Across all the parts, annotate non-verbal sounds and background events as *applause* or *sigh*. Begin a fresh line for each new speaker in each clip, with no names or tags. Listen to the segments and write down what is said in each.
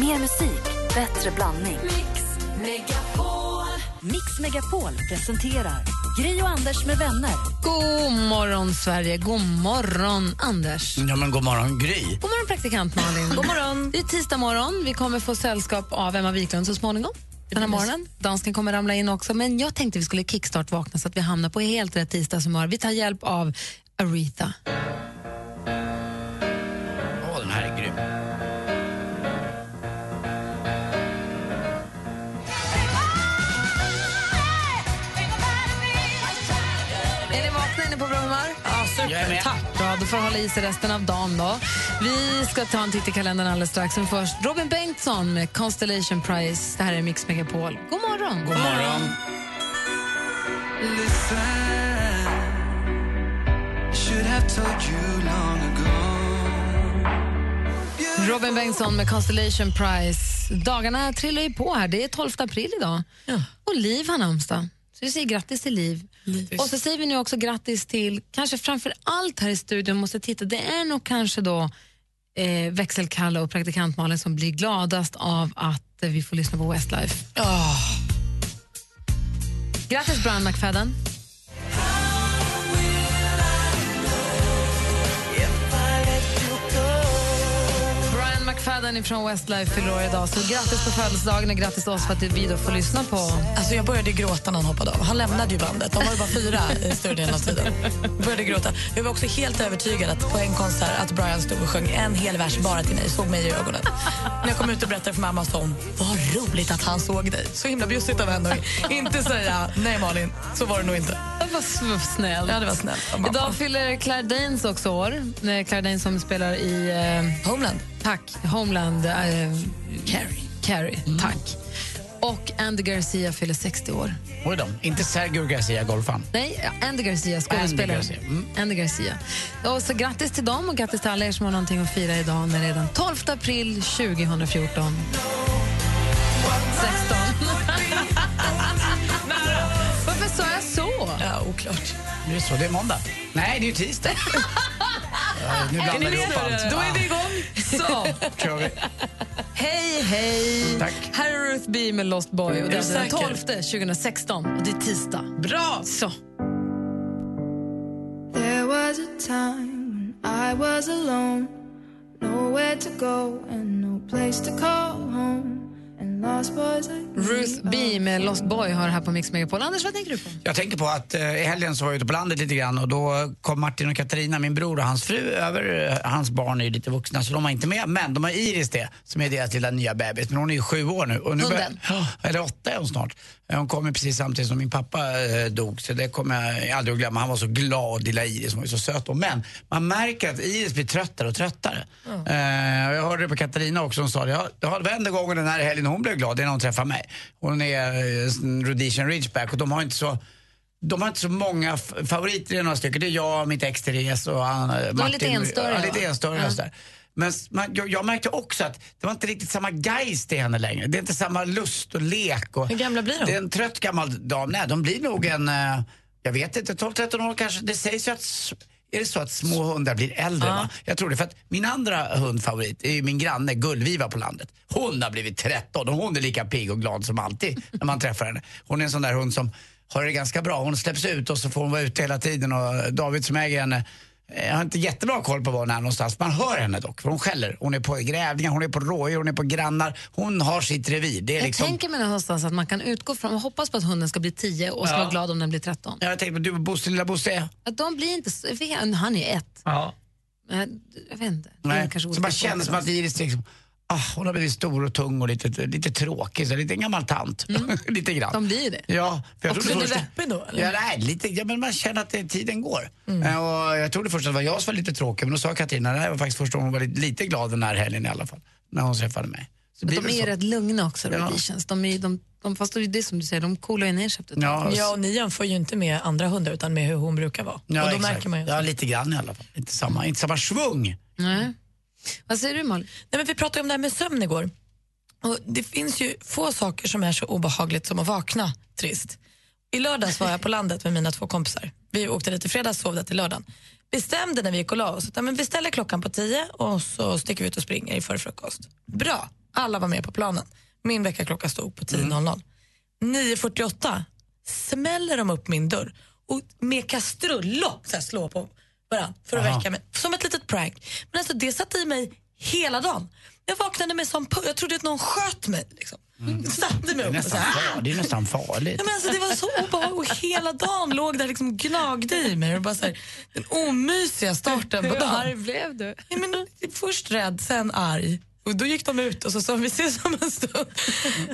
Mer musik, bättre blandning. Mix Megapol. Mix Megapol presenterar Gri och Anders med vänner.
God morgon, Sverige. God morgon, Anders.
Ja, men god morgon, Gry.
God morgon, praktikant Malin. God morgon. Det är tisdag morgon. Vi kommer få sällskap av Emma Wiklund så småningom. Den här morgonen. Dansken kommer ramla in också. Men jag tänkte vi skulle kickstart-vakna så att vi hamnar på helt rätt tisdagshumör. Vi tar hjälp av Aretha.
Åh, den här är grym.
Är ni vakna? Är ni på bra humör? Ja,
Jag är med.
Tack. Bra, då får du hålla i sig resten av dagen. då. Vi ska ta en titt i kalendern alldeles strax. Men först Robin Bengtsson med Constellation Prize. Det här är Mix Megapol. God morgon.
God morgon.
Robin Bengtsson med Constellation Prize. Dagarna trillar ju på här. Det är 12 april idag. Och Liv har namnsdag. Så vi säger grattis till Liv. Och så säger vi nu också grattis till, kanske framför allt här i studion, måste titta, det är nog kanske då eh, växelkalla och praktikant Malin som blir gladast av att eh, vi får lyssna på Westlife.
Ah.
Grattis Brian McFadden. Brian McFadden från Westlife fyller år idag, så grattis på födelsedagen och grattis till oss för att vi då får lyssna på.
Alltså jag började gråta när han hoppade av. Han lämnade ju bandet. De var ju bara fyra i större delen av tiden. Jag började gråta. Jag var också helt övertygad att på en konsert att Brian stod och sjöng en hel vers bara till mig. Såg mig i ögonen. När jag kom ut och berättade för mamma sa hon Vad roligt att han såg dig. Så himla bjussigt av henne att inte säga nej Malin, så var det nog inte.
Det var s- snällt.
Ja, det var snällt av mamma.
Idag fyller Claire Danes också år. Eh, Claire Danes som spelar i eh,
Homeland.
Tack, Homeland. Eh, Carrie. Carrie, tack. Och Andy Garcia fyller 60 år.
Oj då, inte Sergio Garcia, golfaren.
Nej, ja, Andy Garcia, skådespelaren.
Andy
Andy
Garcia,
Garcia.
mm.
Och så grattis till dem och grattis till alla er som har någonting att fira idag när det är den 12 april 2014.
*laughs*
16. Varför sa jag så?
Ja, oklart.
Det är så, det är måndag. Nej, det är ju tisdag. ja, nu blandar vi ihop allt.
Då är vi igång. Så.
Ja, kör vi.
Hej, hej!
Tack.
Här är Ruth B med Lost Boy. Och det är den
säker?
12 2016 och det är tisdag. Bra! Så.
There was a time when I was alone, nowhere to go and no place to call home, and lost boys like me
Ruth B med Lost Boy har här på Mix Megapol. Anders, vad tänker du på?
Jag tänker på att eh, i helgen så var jag ute på landet lite grann och då kom Martin och Katarina, min bror och hans fru över. Eh, Hans barn är ju lite vuxna så de var inte med. Men de har Iris det, som är deras lilla nya bebis. Men hon är ju sju år nu. Och nu börjar-
Hunden.
Ja, eller åtta är hon snart. Eh, Hon kommer precis samtidigt som min pappa eh, dog. Så det kommer jag aldrig att glömma. Han var så glad, lilla Iris. Hon var ju så söt. då. Men man märker att Iris blir tröttare och tröttare. Eh, och jag hörde det på Katarina också. Hon sa det. Ja, det var enda gången den här helgen hon blev glad, det är när hon träffar mig. Hon är eh, en Rhodesian Ridgeback och de har inte så de har inte så många f- favoriter, det är några stycken. Det är jag, mitt ex Therese och han, Martin.
lite enstöriga,
Ja, lite
va?
enstöriga och sådär. Men s- man, jag, jag märkte också att det var inte riktigt samma geist i henne längre. Det är inte samma lust och lek. Och
Hur gamla blir de?
Det är en trött gammal dam. Nej, de blir nog en, eh, jag vet inte, 12-13 år kanske. Det sägs ju att s- är det så att små hundar blir äldre? Va? Jag tror det. För att min andra hundfavorit är ju min granne Gullviva på landet. Hon har blivit 13 och hon är lika pigg och glad som alltid när man träffar henne. Hon är en sån där hund som har det ganska bra. Hon släpps ut och så får hon vara ute hela tiden och David som äger henne Eh, jag har inte jättebra koll på var hon är någonstans. Man hör henne dock, för hon skäller. Hon är på grävlingar, hon är på rådjur, hon är på grannar. Hon har sitt revir. Det är
Jag
liksom...
tänker mig någonstans att man kan utgå från och hoppas på att hunden ska bli 10 och ska
Ja.
vara glad om den blir 13.
Jag tänkte på du och Bosse, lilla Bosse.
Att de blir inte... så- Han är ett.
Ja.
Men Jag vet inte. Det är
Nej.
kanske
Så
olika
man känner som
folk.
att Iris liksom, ah, hon har blivit stor och tung och lite, lite tråkig, så lite en gammal tant.
Mm.
*laughs* lite grann.
De blir det.
Ja, för jag
Och
trodde
blir du
först-
deppig då, eller? Mm.
Ja, nej, lite, ja, men man känner att eh, tiden går. Eh, Och jag trodde först att det var jag som var lite tråkig, men då sa Katarina, det här var faktiskt första gången hon var lite, lite glad den här helgen i alla fall, när hon träffade mig. Så det blir
De
väl
är
så.
ju rätt lugna också,
Ja.
Rhodesians. De är, de, de, fast det är det som du säger, de coolar ju ner sig efter ett tag.
Ja,
Ja, och ni jämför ju inte med andra hundar utan med hur hon brukar vara.
Ja,
och då
exakt.
märker man ju.
Ja, lite grann i alla fall. Inte samma, inte samma svung.
Nej. Vad säger du, Malin?
Nej, men vi pratade ju om det här med sömn igår. Och det finns ju få saker som är så obehagligt som att vakna trist. I lördags var jag på landet med mina två kompisar. Vi åkte dit i fredags, sov där till lördagen. Bestämde när vi gick och la oss att ja, men vi ställer klockan på tio och så sticker vi ut och springer för frukost. Bra, Alla var med på planen. Min väckarklocka stod på
Mm.
10.00. 9.48 smäller de upp min dörr och med kastrullock så här, slår på varandra för att
Aha.
väcka mig. Som ett litet prank. Men alltså, det satte i mig hela dagen. Jag vaknade med som pu- Jag trodde att någon sköt mig. Liksom. *laughs* Satte mig
Mm. Det är
upp och så
nästan,
här,
far, det är nästan farligt.
Ja, men alltså, det var så obehagligt och hela dagen låg där liksom gnagde i mig. Och bara så här, den omysiga starten på dagen.
blev du?
Nej, men, först rädd, sen arg. Och då gick de ut och så sa vi ses om en stund.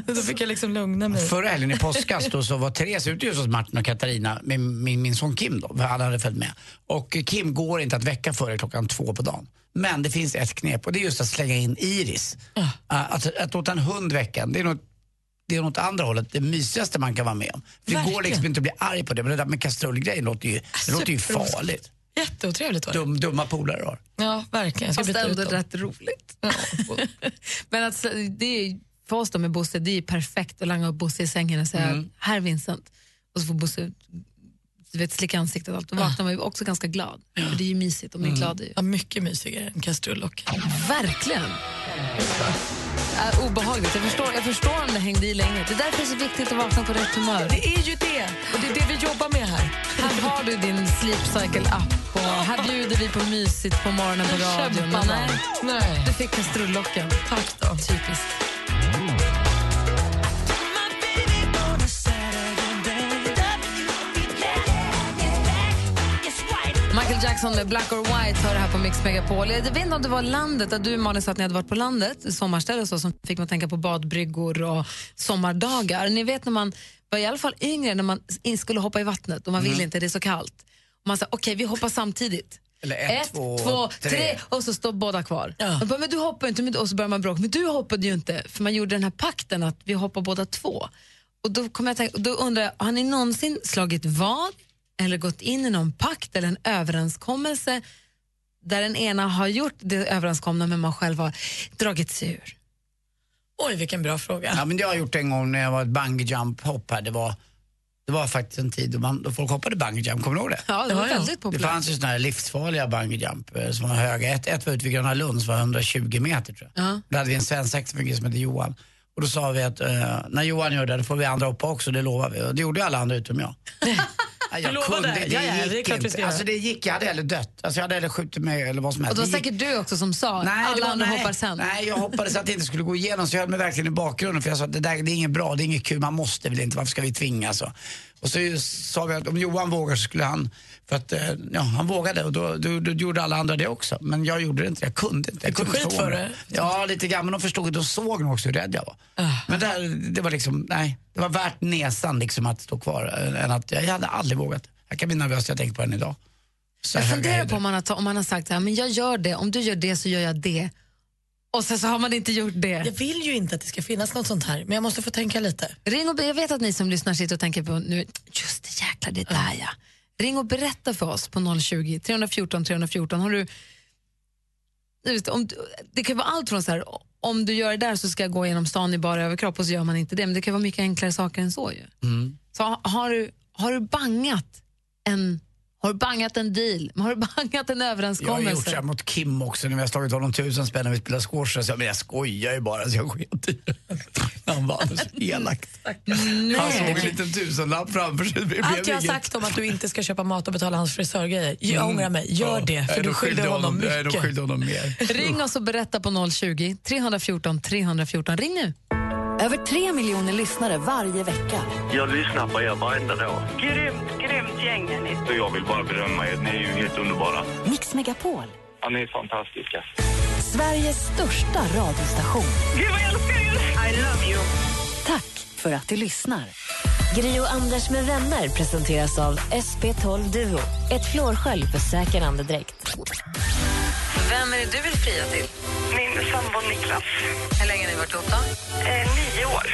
Och då fick jag liksom lugna mig.
Förra helgen i påskas då så var Therese ute just hos Martin och Katarina med min, min son Kim då, för alla hade följt med. Och eh, Kim går inte att väcka före klockan två på dagen. Men det finns ett knep och det är just att slänga in Iris. Ah, Att, att låta en hund väcka en, det är något det är något andra hållet, det mysigaste man kan vara med om. För det går
Verkligen.
liksom inte att bli arg på det, men det där med kastrullgrejen låter ju, det låter ju
Superost.
farligt.
Jätteotrevligt var det.
Dum, dumma polare du har.
Ja, verkligen. Jag ska
Fast
byta ut
ändå
dem.
rätt roligt. *laughs* Men att, slä- det är, ju- för oss då med Bosse, det är ju perfekt att langa upp Bosse i sängen och säga
Mm.
här Vincent. Och så får Bosse du vet, slicka ansiktet och allt. Då vaknar man ju också ganska glad. För det är ju mysigt och
Mm.
man är glad. Ju.
Ja, mycket mysigare än kastrullock.
Verkligen. Äh, obehagligt. Jag förstår, jag förstår om det hängde i länge. Det är därför det är så viktigt att vakna på rätt humör.
Det är ju det, och det är det vi jobbar med här.
Här har du din Sleep Cycle-app och här bjuder vi på mysigt på morgonen på radion.
Kämpa,
Nej,
Nej.
du fick kastrullocken.
Tack då.
Typiskt. Michael Jackson med Black or White hör det här på Mix Megapol. Jag vet inte om det var landet, där du Malin sa att ni hade varit på landet, sommarställe och så, som fick man tänka på badbryggor och sommardagar. Ni vet när man var i alla fall yngre, när man in- skulle hoppa i vattnet och man ville inte, det är så kallt. Och man sa okej, vi hoppar samtidigt.
Eller ett, två,
tre.
tre.
och så står båda kvar. Och bara, men du hoppar inte, men, och så börjar man bråka. Men du hoppade ju inte, för man gjorde den här pakten att vi hoppar båda två. Och då, kommer jag tänka, och då undrar jag, har ni någonsin slagit vad eller gått in i någon pakt eller en överenskommelse där den ena har gjort det överenskomna men man själv har dragit sig ur?
Oj, vilken bra fråga.
Ja, men det har jag gjort en gång när jag var ett bungee jump hopp här. Det var, det var faktiskt en tid då, man, då folk hoppade bungee jump, kommer du ihåg det?
Ja, det var
Ja, ja.
väldigt
Det
populärt.
fanns ju såna här livsfarliga bungee jump eh, som var höga. Ett, ett var ute vid Gröna Lund som var 120 meter tror
*laughs*
jag.
Ja.
Då hade vi en svensexa för en kille som hette Johan. Och då sa vi att eh, när Johan gör det, då får vi andra hoppa också, det lovar vi. Och det gjorde ju alla andra utom jag. Ja,
Du lovade? Ja, ja, det är klart vi ska
inte.
göra.
Alltså det gick, jag hade hellre dött. Alltså jag hade hellre skjutit mig eller vad som
Och
helst.
det var
Det gick
säkert du också som sa,
det
alla
var-
andra
nej,
hoppar sen.
Nej, jag hoppades att det inte skulle gå igenom så jag höll mig verkligen i bakgrunden för jag sa att det där det är inget bra, det är inget kul, man måste väl inte, varför ska vi tvingas? Och, och så ju- sa vi att om Johan vågar så skulle han, för att eh, ja, han vågade och då, då, då gjorde alla andra det också. Men jag gjorde det inte, jag kunde inte. Jag
Fick du
kunde
skit
inte få
för
mig. Ja, lite grann, men de förstod att de såg nog också hur rädd jag var. Men det, här, det var liksom, nej, det var värt näsan liksom att stå kvar, eh, än att jag, hade aldrig vågat. Jag kan bli nervös, jag tänker på den idag. Så
Jag
höga
funderar på
höjder.
om man, har, ta- om man har sagt så här, men jag gör det, om du gör det så gör jag det. Och sen så har man inte gjort det.
Jag vill ju inte att det ska finnas något sånt här, men jag måste få tänka lite.
Ring och, be- jag vet att ni som lyssnar sitter och tänker på nu, just det jäklar, det är där ja. Ring och berätta för oss på 020 314 314. Har du, just, om, du- det kan vara allt från så här, om du gör det där så ska jag gå genom stan i bara överkropp och så gör man inte det. Men det kan vara mycket enklare saker än så ju.
Mm.
Så ha- har du, har du bangat en har du bangat en deal? *laughs* Har du bangat en
Jag har gjort
överenskommelse?
så här mot Kim också när vi har slagit honom tusen spänn när vi spelar squash. Jag sa, men jag skojar ju bara så jag sket i det. *laughs* Han var alldeles elakt. Han såg en liten tusenlapp framför sig. Det blev
Allt jag har
inget. Mm.
sagt om att du inte ska köpa mat och betala hans frisörgrejer, jag ångrar mig. Gör
Ja.
det,
Nej,
för
de
du skyllde honom
nej, De
mycket.
skyllde honom mer.
Ring oss och berätta på 020 314 314. Ring nu!
Över tre miljoner lyssnare varje vecka.
Jag lyssnar på er varenda dag.
Grymt, grymt gäng är ni.
Och jag vill bara berömma er. Ni är ju helt underbara.
Mix Megapol,
Ja, ni är fantastiska.
Sveriges största radiostation.
Gud vad jag älskar er! I love you.
Tack för att du lyssnar. Gri och Anders med vänner presenteras av SP12 Duo. Ett flårskölj för säker andedräkt.
Vem är det du vill fria till?
Min sambo Niklas.
Hur länge har ni varit ihop då?
Eh, nio år.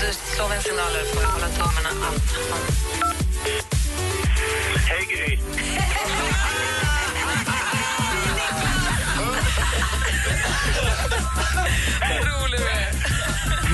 Du slår väl signaler för att hålla tummarna att
Hej, Gry!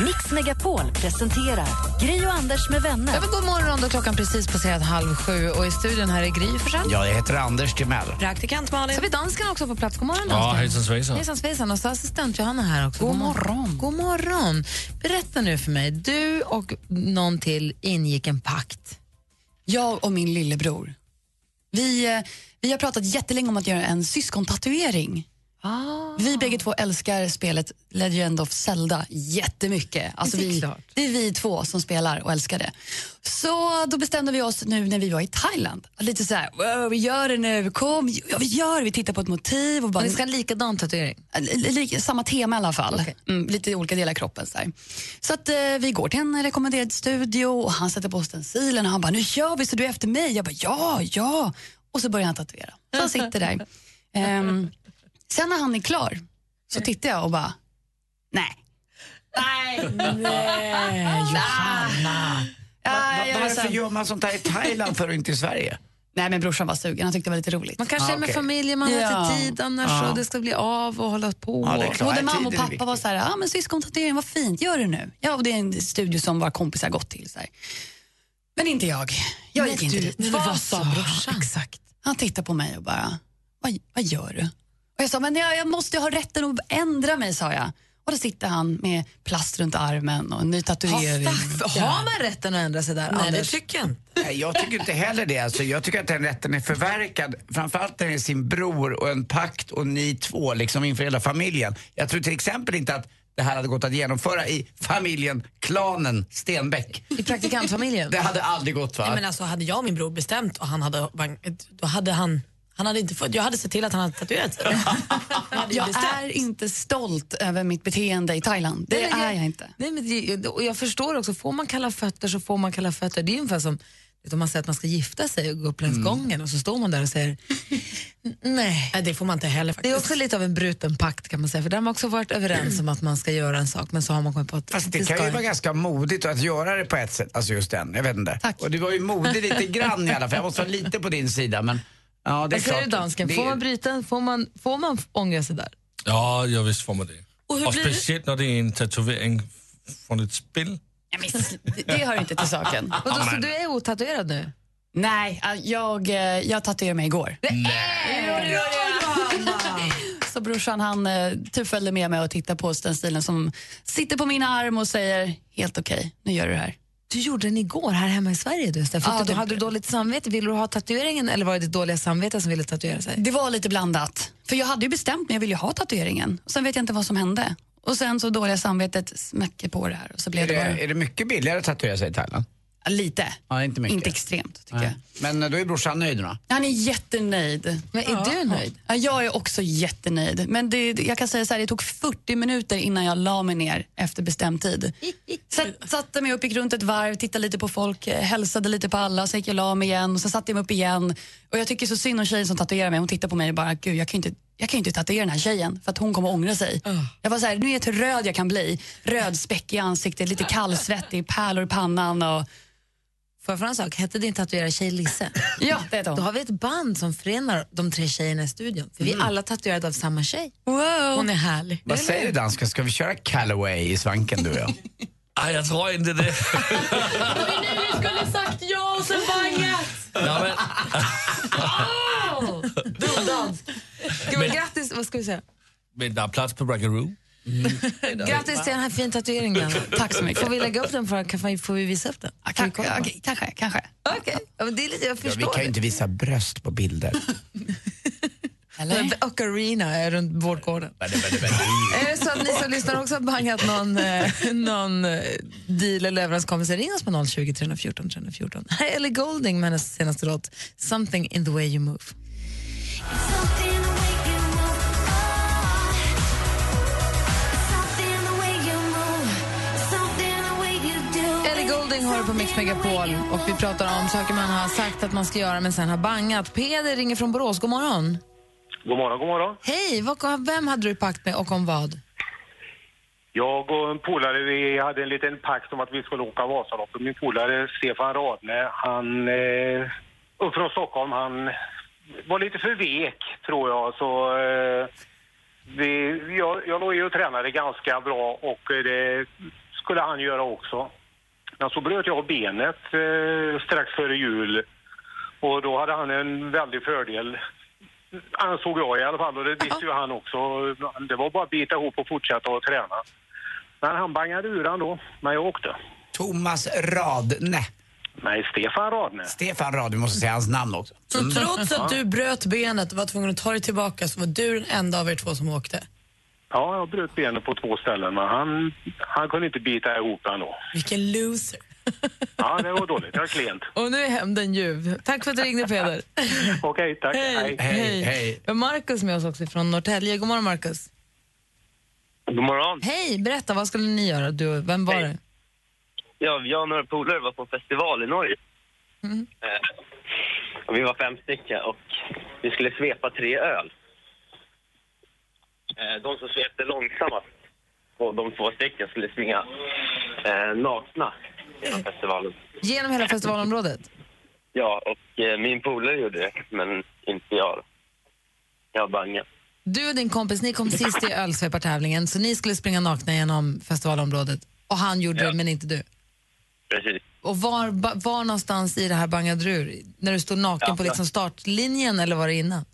Mix Megapol presenterar Gri och Anders med
Ja,
vänner.
men god morgon, då klockan precis passerat halv sju och i studion här är Gry Forssell.
Ja, jag heter Anders Timell.
Praktikant
Så
Malin.
har vi dansken också på plats. God morgon,
Ja,
dansken.
hejsan svejsan.
Hejsan svejsan. Och så assistent Johanna här också. God morgon. God morgon. Berätta nu för mig, du och någon till ingick en pakt.
Jag och min lillebror. Vi, eh, vi har pratat jättelänge om att göra en syskontatuering. Vi bägge två älskar spelet Legend of Zelda jättemycket. Alltså
Det är
vi,
klart.
det är vi två som spelar och älskar det. Så då bestämde vi oss nu när vi var i Thailand. Lite så här, wow, vi gör det nu, kom, ja, vi gör det. Vi tittar på ett motiv och bara,
Och ni ska ha en likadan tatuering.
Li- li- samma tema i alla fall. Mm, lite olika delar av kroppen. Så, här. så att eh, vi går till en rekommenderad studio och han sätter på stencilen och han bara, nu kör vi så du är efter mig. Jag bara, ja, ja. Och så börjar han tatuera. Så han sitter där. Ehm, sen när han är klar så tittar jag och bara, nej. Nej, Johanna. Ja, jag var så
alltså-
Varför
här,
gör man sånt här i Thailand för och inte i Sverige?
nej, men brorsan var sugen. Han tyckte det var lite roligt.
Man kanske
Ah,
är med
okej.
familjen, man har
Ja.
inte tid annars och det ska bli av och hålla på.
Ja, det är klart.
Både
Nej,
mamma och
tiden är
pappa var så här, ah, men syskontatuering, vad fint, gör det nu. Ja, och det är en studio som våra kompisar gått till. Så här. Men inte jag. Jag gick inte dit.
Men vad sa brorsan? Exakt.
Han tittade på mig och bara, vad, vad gör du? Och jag sa, men jag, jag måste ju ha rätten att ändra mig, sa jag. Och då sitter han med plast runt armen och en ny tatuering.
Har man rätten att ändra sig där,
Nej, det
Anders?
tycker jag inte.
Nej, jag tycker inte heller det. Alltså, jag tycker att den rätten är förverkad. Framförallt när det är sin bror och en pakt och ni två liksom inför hela familjen. Jag tror till exempel inte att det här hade gått att genomföra i familjen, klanen Stenbeck.
I
*laughs*
praktikantfamiljen?
Det hade aldrig gått va?
Nej, men alltså, hade jag och min bror bestämt och han hade, bank- då hade han, han hade inte fått, jag hade sett till att han hade
*laughs*
tatuerat sig. Jag hade ju
Jag
bestämt.
är inte stolt över mitt beteende i Thailand. Det
Nej, men
är jag inte.
Nej, men det, och jag förstår också, får man kalla fötter så får man kalla fötter. Det är ungefär som vet, om man säger att man ska gifta sig och gå upp längs gången och så står man där och säger "N- nej.
Nej, det får man inte heller faktiskt.
Det är också lite av en bruten pakt kan man säga, för där har man också varit överens om att man ska göra en sak men så har man kommit på att
Fast Alltså, det
ska
kan ju
jag
vara ganska modigt att göra det på ett sätt. Alltså just den, jag vet inte.
Tack.
Och du var ju modig
*laughs*
lite grann i alla fall. Jag måste vara lite på din sida men ja, det är
Vad säger du
klart.
dansken,
Det är-
får man bryta, får man, får man f- ångra sig där?
Ja, jag visst får man det.
hur
Och
blir det?
speciellt när det är en tatuering f- från ett spel.
Ja, men sl- det- det hör inte till *laughs* saken.
Och då, så du är otatuerad nu?
Nej, äh, jag, eh, jag tatuerade mig igår. Så brorsan han eh, typ följde med mig och tittade på stencilen som sitter på min arm och säger helt okej, nu gör du det här.
Du gjorde den igår här hemma i Sverige. Du, Stefan.
Ja,
Fick du,
det-
hade du dåligt samvete? Ville du ha tatueringen eller var det ditt dåliga samvete som ville tatuera sig?
Det var lite blandat, för jag hade ju bestämt mig, jag ville ju ha tatueringen. Sen vet jag inte vad som hände. Och sen så dåliga samvetet smäcker på det här och så blev
Är
det,
det, är det mycket billigare att tatuera sig i Thailand?
bara lite.
Ja, inte mycket.
Inte extremt tycker
Nej. Men eh, då är brorsan nöjd då?
jag. Han är jättenöjd.
Men är du nöjd?
Ja, jag är också jättenöjd. Men det, jag kan säga så här, det tog 40 minuter innan jag la mig ner efter bestämd tid. Satt, satte mig upp, gick runt ett varv, tittade lite på folk, eh, hälsade lite på alla, sen gick jag och la mig igen och sen satte jag mig upp igen. Och jag tycker så synd om tjejen som tatuerar mig. Hon tittar på mig och bara, gud jag kan ju inte jag kan ju inte tatuera den här tjejen för att hon kommer ångra sig. Jag var så här, nu vet jag hur röd jag kan bli. Röd späck i ansiktet, lite kallsvettig, pärlor i pannan och...
Får jag fråga en sak? Hette din tatuerare tjej Lisse?
Ja, det heter
Då
hon.
har vi ett band som förenar de tre tjejerna i studion. För vi är alla tatuerade av samma tjej.
Hon är härlig.
Vad säger du dansken, ska vi köra Callaway i svanken du och jag?
*laughs* Nej, jag tror inte det.
Du skulle sagt ja och sen bangat! Ah!
Nej, men,
Gud, men... Grattis, vad ska vi säga?
men det är plats på Rackaroo.
Grattis till den här fina tatueringen.
Tack så mycket.
Får vi lägga upp den? För, kan, får vi visa upp den? Kan vi kolla på
Kanske,
den?
okej, kanske, kanske.
Okej, ja, men det är lite, jag
Ja, vi
förstår
kan ju inte visa bröst
*laughs*
på bilder.
det. Ocarina är runt vårdgården. Är det så att ni som lyssnar också har bangat någon, eh, någon eh, deal eller överenskommelse, ring oss på 020 314 314. Här är Ellie Golding med hennes senaste låt Something in the way you move. Ellie Golding har på Mix Megapol och vi pratar om saker man har sagt att man ska göra men sen har bangat. Peder ringer från Borås, god morgon.
God morgon, god morgon.
Hej, vad- vem hade du pakt med och om vad?
Jag och en polare vi hade en liten pakt om att vi skulle åka Vasaloppet. Min polare Stefan Radne, han eh, upp från Stockholm, han var lite för vek tror jag. Så, eh, vi, jag, jag låg ju och tränade ganska bra och eh, det skulle han göra också. Men så bröt jag benet eh, strax före jul och då hade han en väldig fördel. Ansåg jag i alla fall och det visste ju han också. Det var bara att bita ihop och fortsätta att träna. Men han bangade ur han då, men jag åkte.
Thomas Radne.
Nej, Stefan Radne.
Stefan Radne, vi måste säga hans namn också. Mm.
Så trots att du bröt benet och var tvungen att ta dig tillbaka så var du den enda av er två som åkte.
Ja, jag bröt benet på två ställen men han, han kunde inte bita ihop ändå.
Vilken loser.
Ja, det var dåligt. Det var klent.
Och nu är hämnden ljuv. Tack för att du ringde,
*laughs*
Peder.
Okej, tack.
Hej.
Hej.
Hej, hej.
Vi har Markus med oss också från Norrtälje. God morgon, Markus.
God morgon.
Hej, berätta, vad skulle ni göra? Du, vem var
Hej.
det?
Ja, jag och några polare var på en festival i Norge.
Mm.
Eh, och vi var fem stycken och vi skulle svepa tre öl. Eh, de som svepte långsammast, och de två stycken, skulle springa eh, nakna genom festivalen.
Genom hela festivalområdet?
Ja, och eh, min polare gjorde det, men inte jag. då. Jag bangade.
Du och din kompis, ni kom sist i ölsvepartävlingen så ni skulle springa nakna genom festivalområdet och han gjorde
Ja.
det men inte du.
Precis.
Och var, ba- var någonstans i det här bangade du ur? När du stod naken
Ja,
på
ja.
liksom startlinjen eller var det innan?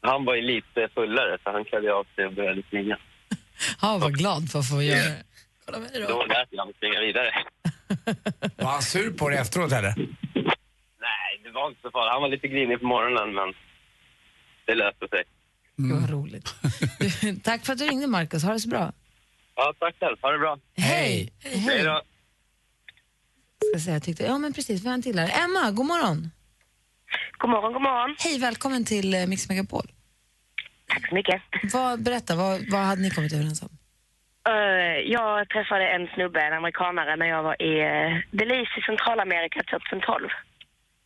Han var ju lite fullare, så han klädde av sig och började springa.
Ja, var glad för att få göra det. Kolla mig
Det
då.
var därför han springade vidare.
*laughs* Var han sur på dig efteråt eller?
Nej, det var inte så farligt. Han var lite grinig på morgonen, men det löste sig.
Gud, vad roligt. Du, tack för att du ringde Markus, ha det så bra.
Ja, tack själv. Ha det bra.
Hej.
Hej då.
Ska säga, jag tyckte, ja men precis, vi har en till här. Emma, god morgon.
God morgon, god morgon.
Hej, välkommen till eh, Mix Megapol.
Tack så mycket.
Vad, berätta, vad, vad hade ni kommit överens om?
Eh, jag träffade en snubbe, en amerikanare, när jag var i uh, Belize i Centralamerika 2012.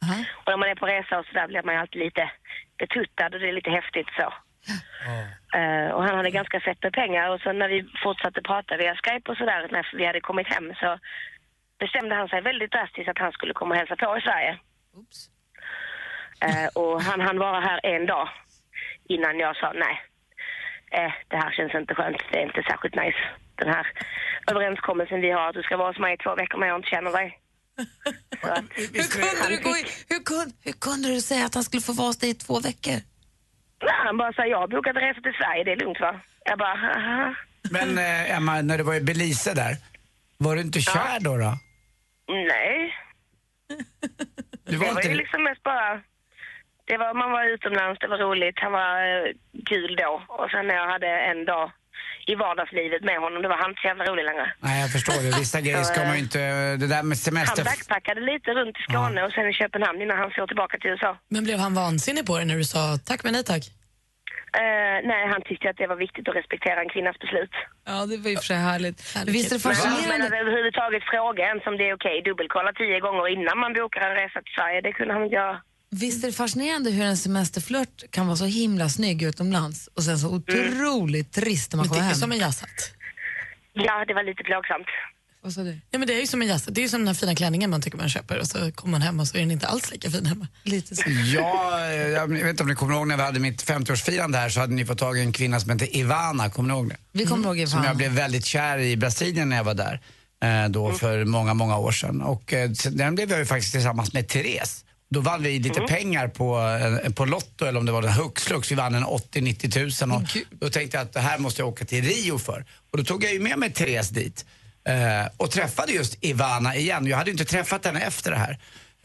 Aha.
Och när man är på resa och så där blir man ju alltid lite betuttad och det är lite häftigt så. Eh, och han hade ganska fett med pengar och så när vi fortsatte prata via Skype och sådär när vi hade kommit hem så bestämde han sig väldigt drastiskt att han skulle komma och hälsa på i Sverige.
Oops.
Eh, och han hann vara här en dag innan jag sa nej. Eh, det här känns inte skönt, det är inte särskilt nice. Den här överenskommelsen vi har att du ska vara hos mig i två veckor men jag inte känner
*laughs*
dig. Så att,
Hur kunde, du gå in, hur, kun, hur kunde du säga att han skulle få vara hos dig i två veckor?
nej, han bara sa, jag har bokat en resa till Sverige, det är lugnt va? Jag bara, Haha.
Men eh, Emma, när du var i Belize där, var du inte kär då? då?
nej.
Du
Det
var
var
inte
ju liksom mest bara, det var, man var utomlands, det var roligt, han var eh, kul då. Och sen när jag hade en dag i vardagslivet med honom, då var han inte så jävla rolig längre.
Nej, jag förstår det. Vissa grejer ska man ju inte... Det där med
Han
semester...
backpackade lite runt i Skåne och sen i Köpenhamn innan han for tillbaka till USA.
Men blev han vansinnig på dig när du sa tack men nej tack?
Eh, nej, han tyckte att det var viktigt att respektera en kvinnas beslut.
Ja, det var ju för sig härligt. Visst är det
Men att
fascinerande?
överhuvudtaget fråga ens om det är okej, dubbelkolla tio gånger innan man bokar en resa till Sverige, det kunde han inte göra.
Visst är det fascinerande hur en semesterflört kan vara så himla snygg utomlands och sen så otroligt trist när man
Men det
kommer
är
hem?
som en jazzhatt.
Ja, det var lite plågsamt.
Vad sa du?
Ja, men det är ju som en jazzhatt. Det är ju som den här fina klänningen man tycker man köper och så kommer man hem och så är den inte alls lika fin hemma.
Lite så.
Ja, eh, jag vet inte om ni kommer ihåg när vi hade mitt 50-årsfirande här så hade ni fått tag i en kvinna som hette Ivana, kommer ni ihåg det? Mm.
Vi kommer ihåg
Som jag
Ivana.
blev väldigt kär i Brasilien när jag var där. eh,
Mm.
Då för många, många år sedan. Och eh, sen- den blev jag ju faktiskt tillsammans med Therese. Då vann vi
Mm.
lite pengar på, eh, på Lotto eller om det var den hux flux. Vi vann en 80-90 tusen och då tänkte jag att det här måste jag åka till Rio för. Och då tog jag ju med mig Therese dit. eh, Och träffade just Ivana igen. Jag hade ju inte träffat henne efter det här.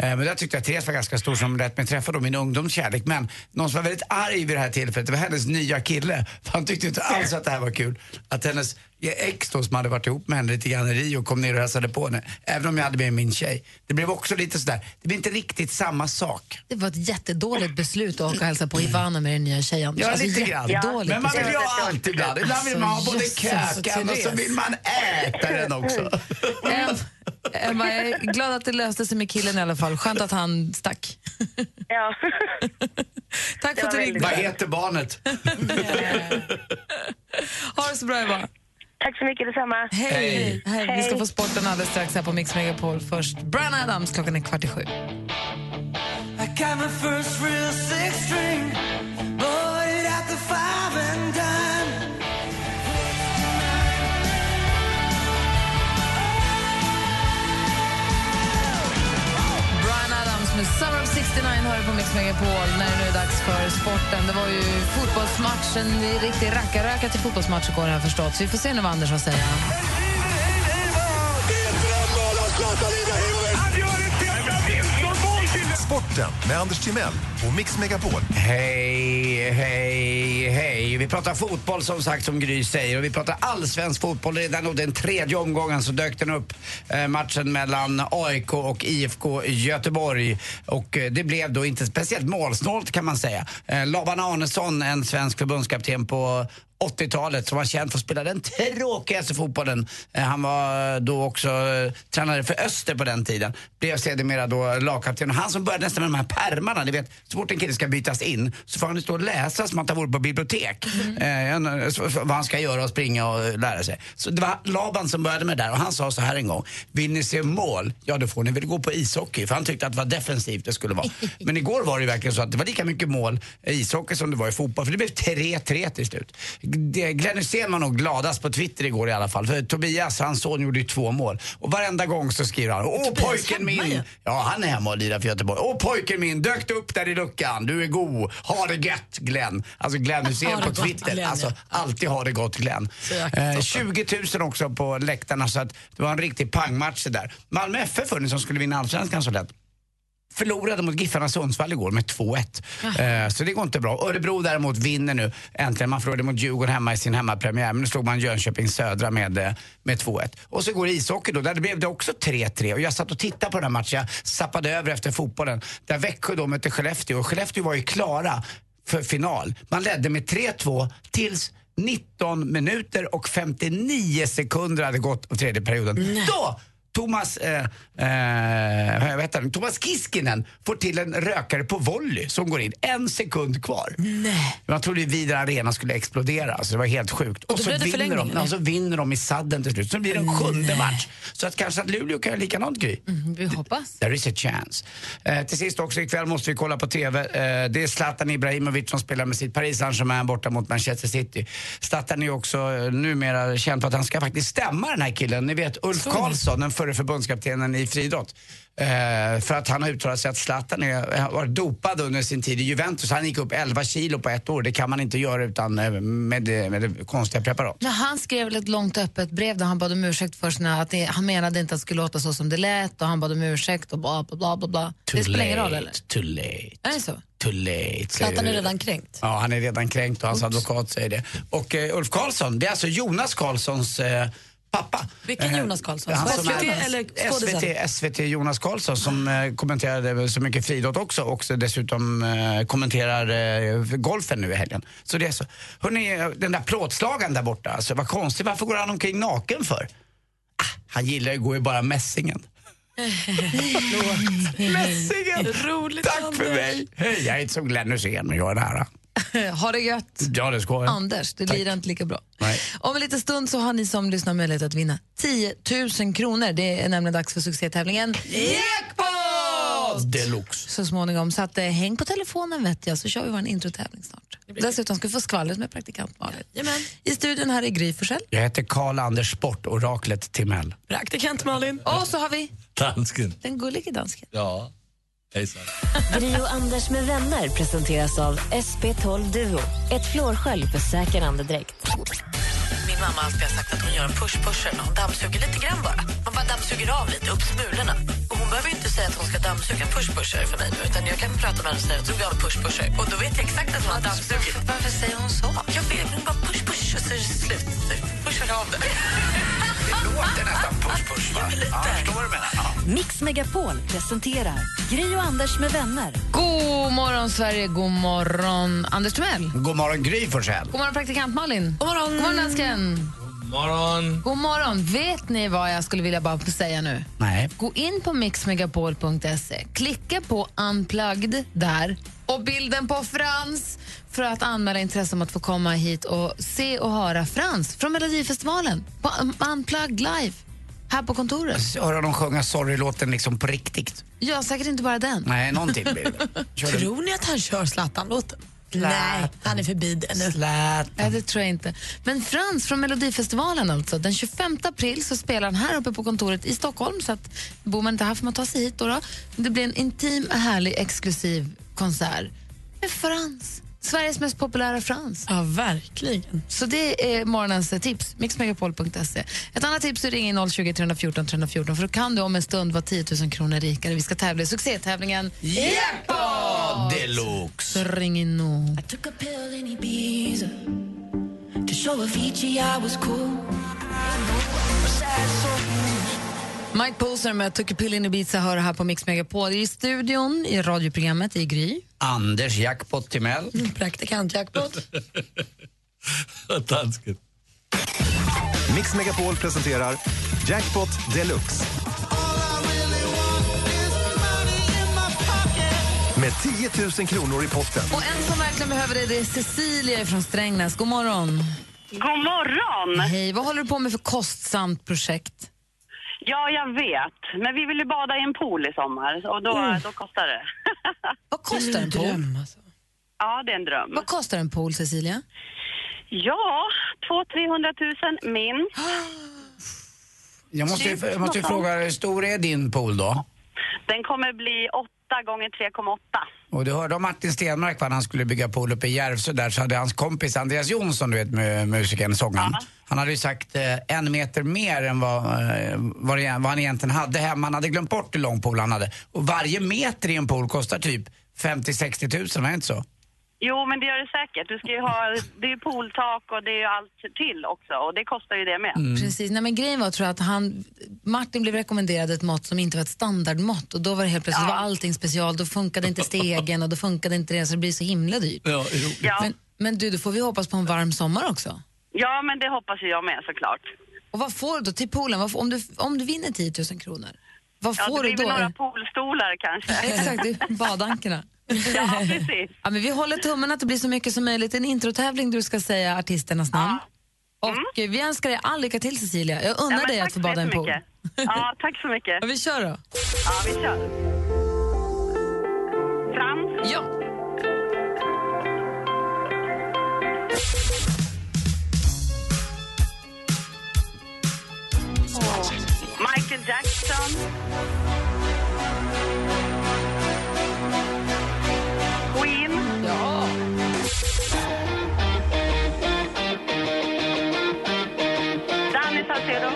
Eh, Men där tyckte jag att Therese var ganska stor som lät mig träffa då min ungdomskärlek. Men någon som var väldigt arg vid det här tillfället, det var hennes nya kille. *laughs* För han tyckte inte alls att det här var kul. Att hennes ex då som hade varit ihop med henne lite grann i Rio kom ner och hälsade på henne. Även om jag hade med min tjej. Det blev också lite sådär, det blev inte riktigt samma sak.
Det var ett jättedåligt beslut att åka och hälsa på Ivana med den nya tjejen.
Mm.
Alltså,
Ja, lite grann.
jättedåligt.
Men man vill ju ha
Ja.
allt ibland. Ibland vill man ha både
Alltså, jösses,
kakan och så
Therese.
vill man äta den också.
Em- Emma, jag är glad att det löste sig med killen i alla fall. Skönt att han stack.
Ja.
*laughs* Tack
Det
för att
var
du
väldigt
ringde.
bra.
Vad heter barnet?
Ha det så bra, Eva.
Tack så mycket, detsamma.
Hej.
Hej.
Hej! Vi ska få sporten alldeles strax här på Mix Megapol. Först Brian Adams, klockan är kvart i sju. 69 hör du på Mix Megapol när det nu är dags för sporten. Det var ju fotbollsmatchen, en riktig rackarröka till fotbollsmatch igår här förstås. Vi får se nu vad Anders har att säga.
Sporten med Anders Timell och Mix Megapol.
Hej, hej, hej. Vi pratar fotboll som sagt som Gry säger och vi pratar allsvensk fotboll. Redan och den tredje omgången så dök den upp eh, matchen mellan AIK och IFK Göteborg och eh, det blev då inte speciellt målsnålt kan man säga. Eh, Laban Arnesson, en svensk förbundskapten på 80-talet som var känd för att spela den tråkigaste fotbollen. Eh, Han var då också eh, tränare för Öster på den tiden. Blev sedermera då lagkapten. Och Han som började nästan med de här pärmarna, ni vet så fort en kille ska bytas in så får han ju stå och läsa som att han vore på bibliotek. Eh, en- så- så- vad han ska göra och springa och lära sig. Så det var Laban som började med det där och han sa så här en gång. Vill ni se mål? Ja då får ni väl gå på ishockey. För han tyckte att det var defensivt det skulle vara. Men igår var det ju verkligen så att det var lika mycket mål i ishockey som det var i fotboll. För det blev 3-3 till slut. Det- Glenn Hysén var nog gladast på Twitter igår i alla fall. För Tobias, hans son, gjorde ju två mål. Och varenda gång så skriver han Åh pojken min! Ja, han är hemma och lirar för Göteborg. Åh pojken min, dök upp där i luckan. Du är god. Ha det gött Glenn. Alltså Glenn
Ha
Hysén
det
på
gott,
Twitter.
Glenn,
Alltså alltid ha det gott Glenn. Eh, 20 000 också på läktarna så att det var en riktig pangmatch det där. Malmö FF var det som skulle vinna allsvenskan så lätt förlorade mot Giffarna Sundsvall igår med 2-1. Eh, så det går inte bra. Örebro däremot vinner nu äntligen. Man förlorade mot Djurgården hemma i sin hemmapremiär, men nu slog man Jönköping Södra med, eh, med 2-1. Och så går ishockey då, där blev det också 3-3. Och jag satt och tittade på den här matchen, jag zappade över efter fotbollen, där Växjö då mötte Skellefteå. Och Skellefteå var ju klara för final. Man ledde med 3-2 tills 19 minuter och 59 sekunder hade gått av tredje perioden. Då Thomas, eh, eh, vad heter han? Thomas Kiskinen får till en rökare på volley som går in en sekund kvar. Nej. Man trodde ju Vidar Arena skulle explodera, så det var helt sjukt. Och,
då
så,
blev det
vinner
förlängning,
de,
eller?
och så vinner de i sadden till slut. Så blir det en sjunde match. Så att kanske att Luleå kan göra likadant, Gry.
Mm, Vi hoppas.
There is a chance. Eh, till sist också, ikväll måste vi kolla på TV. Eh, det är Zlatan Ibrahimovic som spelar med sitt Paris Saint-Germain borta mot Manchester City. Zlatan är ju också eh, numera känd för att han ska faktiskt stämma den här killen. Ni vet Ulf Karlsson, den förre förbundskaptenen i friidrott. Eh, för att han har uttalat sig att Zlatan är, har varit dopad under sin tid i Juventus. Han gick upp 11 kilo på ett år. Det kan man inte göra utan eh, med, med konstiga preparat.
Men han skrev väl ett långt öppet brev där han bad om ursäkt för sina, att det, han menade inte att det skulle låta så som det lät och han bad om ursäkt och bla bla bla. bla, bla. Det spelar ingen roll eller?
Too late,
Är det så?
too late.
Zlatan är redan kränkt.
Ja, han är redan kränkt och hans advokat säger det. Och eh, Ulf Karlsson, det är alltså Jonas Karlssons eh, pappa.
Vilken Jonas Karlsson?
Han som
SVT
är-
eller
SVT,
skådisen?
SVT Jonas Karlsson som eh, kommenterade så mycket friidrott också och så dessutom eh, kommenterar eh, golfen nu i helgen. Så det är så. Hörrni, den där plåtslagaren där borta, alltså, vad konstigt, varför går han omkring naken för? Ah, han gillar ju, går ju bara mässingen. *laughs* mässingen!
Roligt,
Tack för mig! Hej, jag är inte som Glenn Hysén, men jag är nära.
*laughs* ha det gött.
Ja, det ska jag.
Anders, det
Tack.
blir inte lika bra.
Nej.
Om en liten stund så har ni som lyssnar möjlighet att vinna 10 000 kronor. Det är nämligen dags för succétävlingen Jackpot!
Deluxe.
Så småningom, så att, eh, häng på telefonen vet jag så kör vi vår introtävling snart. Dessutom ska vi få skvallret med praktikant Malin.
Jajamän.
I studion här är Gry Forssell.
Jag heter Karl Anders Sportoraklet Timell.
Praktikant Malin.
Och så har vi
Dansken.
den gullige dansken.
Ja. Hejsan.
Gri och Anders med vänner presenteras av SP12 Duo. Ett flårskölj för säker andedräkt.
Min mamma alltid har sagt att hon gör en push-pusher när hon dammsuger lite grann bara. Man bara dammsuger av lite, upp smulorna. Och hon behöver ju inte säga att hon ska dammsuga en push-pusher för mig nu, utan jag kan prata med henne och säga att hon av en push-pusher. Och då vet jag exakt att hon har dammsugit. Varför säger hon så? Jag vet, hon bara push-push och så är det slut. Pushar av det.
Det låter nästan push-push, va? Ja, jag förstår vad du menar. Ja.
Mix Megapol presenterar Gri och Anders med vänner.
God morgon Sverige, god morgon Anders Timell.
God morgon, Gry Forssell.
God morgon praktikant Malin.
God morgon.
God morgon dansken.
Morgon.
God morgon. Vet ni vad jag skulle vilja bara säga nu?
Nej.
Gå in på mixmegapol.se, klicka på unplugged där och bilden på Frans för att anmäla intresse om att få komma hit och se och höra Frans från Melodifestivalen på Un- unplugged live här på kontoret.
Så Höra dem sjunga sorry-låten liksom på riktigt.
Ja, säkert inte bara den.
*laughs*
Nej, någonting blir det. Kör du.
Tror ni att han kör Zlatan-låten? Nej, han är förbi det nu.
Nej, det tror jag inte. Men Frans från Melodifestivalen alltså. Den 25 april så spelar han här uppe på kontoret i Stockholm. Så att bor man inte här får man ta sig hit. Då då. Det blir en intim, härlig, exklusiv konsert med Frans. Sveriges mest populära Frans.
Ja, verkligen.
Så det är morgonens tips, mixmegapol.se. Ett annat tips är att ringa in 020 314 314 för då kan du om en stund vara 10 000 kronor rikare. Vi ska tävla i succétävlingen
Jackpot
Så
deluxe.
ring in nu. Mike Poser med Took a pill in Ibiza hör här på Mix Megapol. I studion, i radioprogrammet, i Gry.
Anders
*laughs*
Jackpot Timell.
Praktikant Jackpot.
Dansken.
Mix Megapol presenterar Jackpot Deluxe. Med 10 000 kronor i potten.
Och en som verkligen behöver det, det är Cecilia från Strängnäs. God morgon.
God morgon!
Hej, vad håller du på med för kostsamt projekt?
Ja, jag vet. Men vi vill ju bada i en pool i sommar och då,
Mm.
då kostar det.
*laughs* Vad kostar en pool?
alltså. Ja, det är en dröm.
Vad kostar en pool, Cecilia?
Ja, 200 300 000 minst.
Jag måste, ju- jag måste ju fråga, hur stor är din pool då?
Den kommer bli 8 gånger 3,8.
Och du hörde om Martin Stenmark va, när han skulle bygga pool uppe i Järvsö där så hade hans kompis Andreas Jonsson, du vet mu- musikern, sångaren. Han hade ju sagt eh, en meter mer än vad, eh, vad, det- vad han egentligen hade hemma. Han hade glömt bort hur lång pool han hade. Och varje meter i en pool kostar typ 50-60 tusen, är det inte så?
Jo, men det gör det säkert. Du ska ju ha, det är ju pooltak och det är ju allt till också och det kostar ju det med.
Mm. Precis, nej men grejen var tror jag att han, Martin blev rekommenderad ett mått som inte var ett standardmått och då var det helt plötsligt var allting special, då funkade inte stegen och då funkade inte det så det blir så himla dyrt.
Ja,
Men, men du, då får vi hoppas på en varm sommar också.
Ja, men det hoppas ju jag med såklart.
Och vad får du då till poolen? Vad får, om, du, om du vinner 10 000 kronor, vad
ja,
får
det
du
blir
då?
väl några poolstolar kanske.
*laughs* Exakt, det är badankerna.
Ja, precis.
Ja, men vi håller tummen att det blir så mycket som möjligt. En introtävling där du ska säga artisternas namn. Och eh, vi önskar dig all lycka till Cecilia. Jag unnar
Mm. Ja, men
dig
tack
att få
så
bada i en pool.
jättemycket. Ja, tack så mycket.
Ja, vi kör då.
Ja, vi kör. Frans?
Ja.
Michael Jackson. Queen.
Ja.
Danny Saucedo.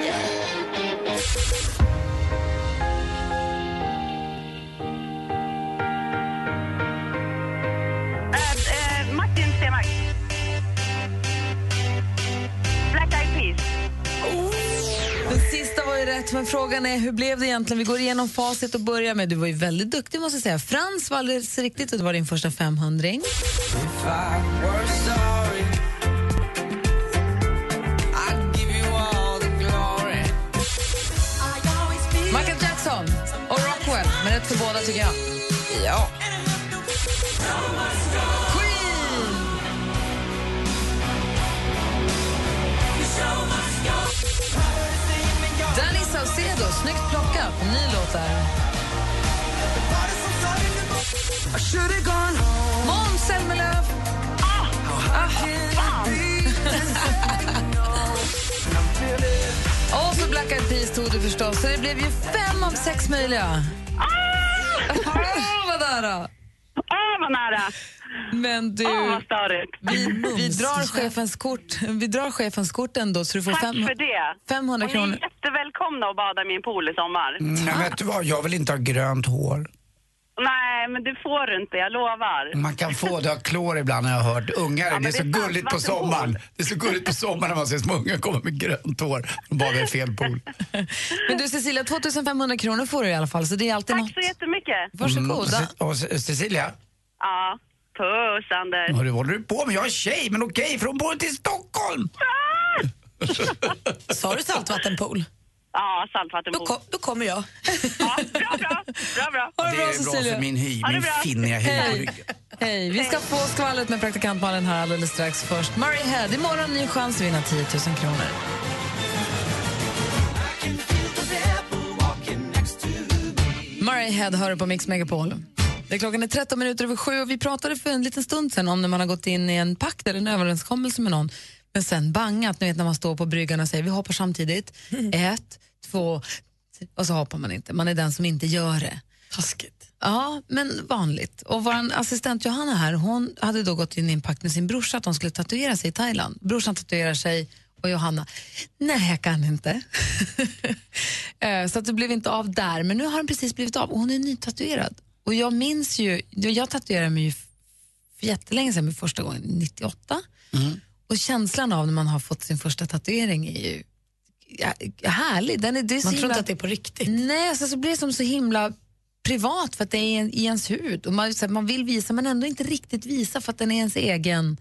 Eh, eh, Martin Stenmarck. Black Eyed Peas.
Den sista var ju rätt, men frågan är hur blev det egentligen? Vi går igenom facit och börjar med, du var ju väldigt duktig måste jag säga. Frans var alldeles riktigt och det var din första 500 Michael Jackson och Rockwell, men rätt för båda tycker jag. Ja. Danny Saucedo, snyggt plockat. Ny låt där. Måns Zelmerlöw! Ah, *laughs* fan. Och så Black Eyed Peas tog du förstås, så det blev ju fem av sex möjliga. Ah, *laughs* vad nära!
Ah, vad nära!
Men du,
Ah, vad störigt.
vi, vi, drar chefens kort, vi drar chefens kort ändå så du får
Tack
fem,
för det.
500
Och ni
kronor.
är jättevälkomna att bada i min pool i sommar.
Mm, men vet du vad, jag vill inte ha grönt hår.
Nej, men det får du inte, jag lovar.
Man kan få det av klor ibland har jag hört. Ungar, det är så gulligt på sommaren. Det är så gulligt på sommaren när man ser små ungar komma med grönt hår. De badar i fel pool.
Men du Cecilia, 2500 kronor får du i alla fall så det är alltid något.
Tack så jättemycket.
Mm, och Ce- och Ce- Cecilia,
Ja, puss Anders.
hörru, vad håller du på med? Jag är tjej, men okej, för hon bor inte
*laughs*
i Stockholm.
Sa du saltvattenpool?
Ja, saltvattenpool.
Då, kom, då kommer jag.
Bra, bra.
Ha
det bra, Cecilia. för min hy, min finniga hy på
Hej.
ryggen.
Hej, vi ska få skvallret med praktikant Malin här alldeles strax. Först Murray Head, imorgon ny chans att vinna 10 000 kronor. Murray Head hör du på Mix Megapol. Det är klockan är 13 minuter över sju och vi pratade för en liten stund sedan om när man har gått in i en pakt eller en överenskommelse med någon men sen bangat, ni vet när man står på bryggan och säger vi hoppar samtidigt, ett, två, tre, och så hoppar man inte. Man är den som inte gör det.
Taskigt.
Ja, men vanligt. Och vår assistent Johanna här, hon hade då gått in i en pakt med sin brorsa att de skulle tatuera sig i Thailand. Brorsan tatuerar sig och Johanna, nej jag kan inte. Eh, Så att det blev inte av där, men nu har den precis blivit av och hon är nytatuerad. Och jag minns ju, jag tatuerade mig ju för jättelänge sedan, men första gången 98. Och känslan av när man har fått sin första tatuering är ju ja, härlig. Den är, det är så
Man tror
himla...
inte att det är på riktigt.
Nej, alltså, så blir det som så himla privat för att det är i en- i ens hud. Och man, så här, man vill visa men ändå inte riktigt visa för att den är ens egen.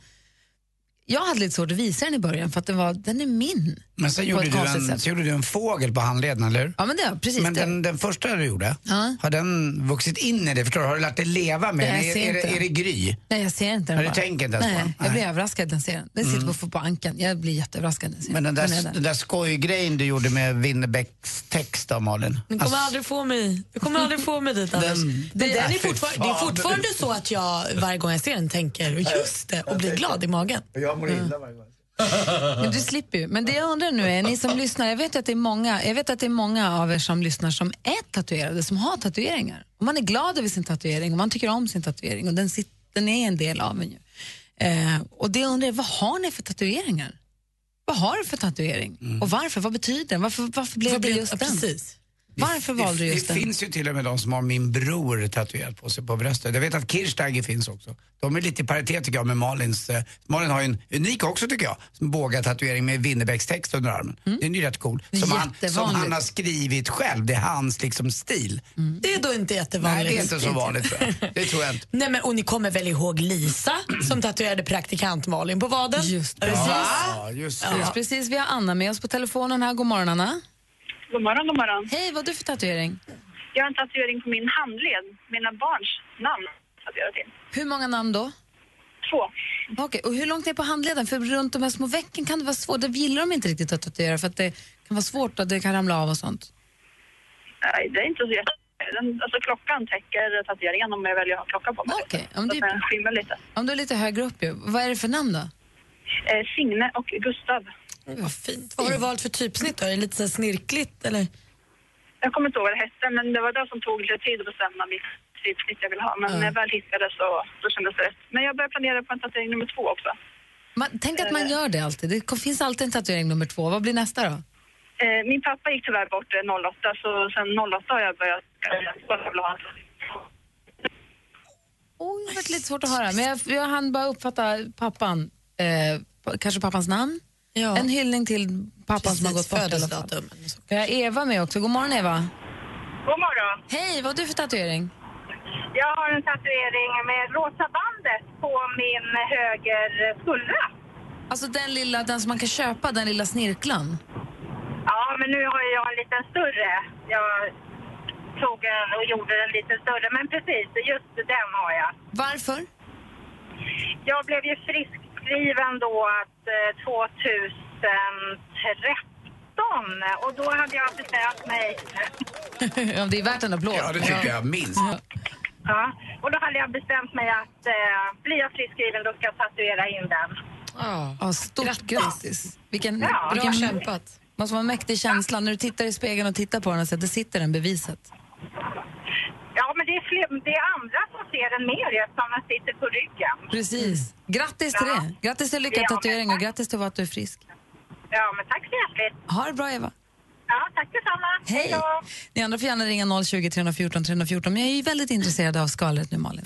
Jag hade lite svårt att visa den i början för att den, var, den är min.
Men sen
på
gjorde,
ett
du
konstigt
en,
sätt.
så gjorde du en fågel på handleden, eller hur?
Ja, men det, precis.
Men
det.
den, den första du gjorde,
Ja.
har den vuxit in i dig? Förstår du? Har du lärt dig leva med
Nej,
den?
jag
Är,
ser
är,
inte
det-
den.
är det gry?
Nej, jag ser inte den
Ja,
bara.
du tänker inte ens på
Nej,
den.
Jag blir
Nej.
överraskad den ser den. Den sitter
Mm.
på, på ankan. Jag blir jätteöverraskad den ser
Men den
den är
där, den där skojgrejen du gjorde med Winnerbäcks text då, Malin.
Du
Alltså,
kommer aldrig få mig, du kommer aldrig få mig dit
*laughs*
Anders.
Den-
Men den är
Nej, fy
fortfarande, det är
fan.
fortfarande så att jag varje gång jag ser den tänker just det och blir glad i magen.
Jag mår illa varje gång.
Men du slipper ju. Men det jag undrar nu är, ni som lyssnar, jag vet ju att det är många, jag vet att det är många av er som lyssnar som är tatuerade, som har tatueringar. Och man är glad över sin tatuering och man tycker om sin tatuering och den, sit, den är en del av en ju. Eh, och det jag undrar är, vad har ni för tatueringar? Vad har du för tatuering?
Mm.
Och varför? Vad betyder den? Varför, varför blev
Vad
det
blev-
just
ja,
den?
precis.
Varför
Det-
valde du just
Det
den?
finns ju till och med de som har min bror tatuerat på sig på bröstet. Jag vet att Kirchsteiger finns också. De är lite i paritet tycker jag med Malins. eh, Malin har ju en unik också tycker jag, som bågatatuering med Winnerbäcks text under armen.
Mm.
Den är ju rätt cool. Som han, som
Jättevanligt.
han har skrivit själv, det är hans liksom stil.
Mm.
Det är då inte jättevanligt.
Nej, det är inte så vanligt tror jag. Det tror jag
*laughs*
inte.
Nej, men, och ni kommer väl ihåg Lisa som tatuerade praktikant Malin på vaden? Just
Ja,
Va?
just
Ja.
det.
Precis, precis, vi har Anna med oss på telefonen här. God morgon Anna.
God morgon, god morgon.
Hej, vad har du för tatuering?
Jag har en tatuering på min handled. Mina barns namn har jag till.
Hur många namn då?
Två.
Okej, och hur långt ner på handleden? För runt de här små vecken kan det vara svårt. Det gillar de inte riktigt att tatuera för att det kan vara svårt att det kan ramla av och sånt.
Nej, Det är inte så jätte... den- Alltså klockan täcker tatueringen om jag väljer att ha klocka på mig. Okej,
om det-
Den skymmer lite.
Om du är lite högre upp ju. Vad är det för namn då?
Eh, Signe och Gustav.
Vad fint. Vad har du valt för typ? typsnitt då? Är det lite så här snirkligt eller?
Jag kommer inte ihåg vad det hette, men det var det som tog lite tid att bestämma vilket typsnitt jag ville ha. Men
Ja.
när jag väl hittade så då kändes det rätt. Men jag börjar planera på en tatuering nummer två också.
Man, tänk att
Eh.
man gör det alltid. Det finns alltid en tatuering nummer två. Vad blir nästa då?
Eh, min pappa gick tyvärr bort eh, 08, så sen 08 har jag börjat... Jag vill ha en
Oh, det har varit lite svårt att höra, men jag, jag hann bara uppfatta pappan. Eh, p- kanske pappans namn?
Ja.
En hyllning till pappan som har gått bort. i alla fall.
födelsedatum.
Vi har Eva med också. God morgon Eva.
God morgon.
Hej, vad har du för tatuering?
Jag har en tatuering med rosa bandet på min höger skuldra.
Alltså den lilla, den som man kan köpa, den lilla snirklan.
Ja, men nu har jag en liten större. Jag tog en och gjorde den lite större, men precis, just den har jag.
Varför?
Jag blev ju friskskriven då att eh, 2013 och då hade jag bestämt mig
*laughs* Ja, det är värt en applåd.
Ja, det tycker jag minst.
Ja, och då hade jag bestämt mig att eh, blir jag friskskriven då ska jag tatuera in den.
Ja, stort grattis. Vilken,
Ja,
vilken
bra
kämpat. Måste vara en mäktig känsla när du tittar i spegeln och tittar på den och ser att det sitter den beviset.
Ja, men det är, fler, det är andra som ser den mer eftersom den sitter på ryggen.
Precis. Grattis till det. Grattis till lyckad
Ja, men
tatuering och grattis till att du är frisk.
Ja, men tack så hjärtligt.
Ha det bra, Eva.
Ja, tack detsamma.
Hej!
då.
Ni andra får gärna ringa 020 314 314, men jag är ju väldigt intresserad av skalet nu, Malin.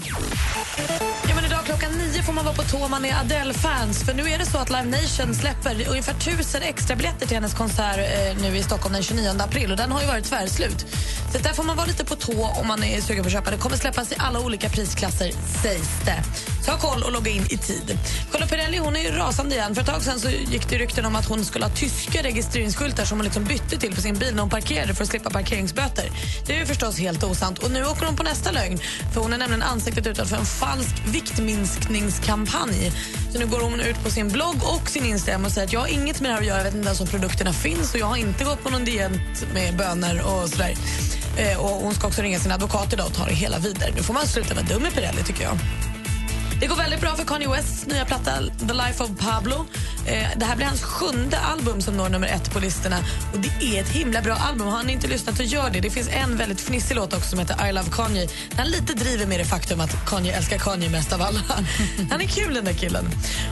Ja, men idag klockan nio får man vara på tå om man är Adele-fans. För nu är det så att Live Nation släpper ungefär tusen extra biljetter till hennes konsert eh, nu i Stockholm den 29 april. Och den har ju varit tvärslut. Så där får man vara lite på tå om man är sugen på att köpa. Det kommer släppas i alla olika prisklasser, sägs det. Så ha koll och logga in i tid. Kolla Pirelli, hon är ju rasande igen. För ett tag sedan så gick det ju rykten om att hon skulle ha tyska registreringsskyltar som hon liksom bytte till på sin bil när hon parkerade för att slippa parkeringsböter. Det är ju förstås helt osant. Och nu åker hon på nästa lögn. För hon är nämligen ansiktet utåt för en falsk viktminskningskampanj. Så nu går hon ut på sin blogg och sin Instagram och säger att jag har inget med det här att göra. Jag vet inte ens om produkterna finns och jag har inte gått på någon diet med bönor och sådär. Eh, och hon ska också ringa sin advokat idag och ta det hela vidare. Nu får man sluta vara dum i Pirelli tycker jag. Det går väldigt bra för Kanye Wests nya platta The Life of Pablo. Eh, det här blir hans sjunde album som når nummer ett på listorna. Och Det är ett himla bra album. Har ni inte lyssnat så gör det. Det finns en väldigt fnissig låt också som heter I Love Kanye. Där Han lite driver med det faktum att Kanye älskar Kanye mest av alla. *laughs* Han är kul den där killen.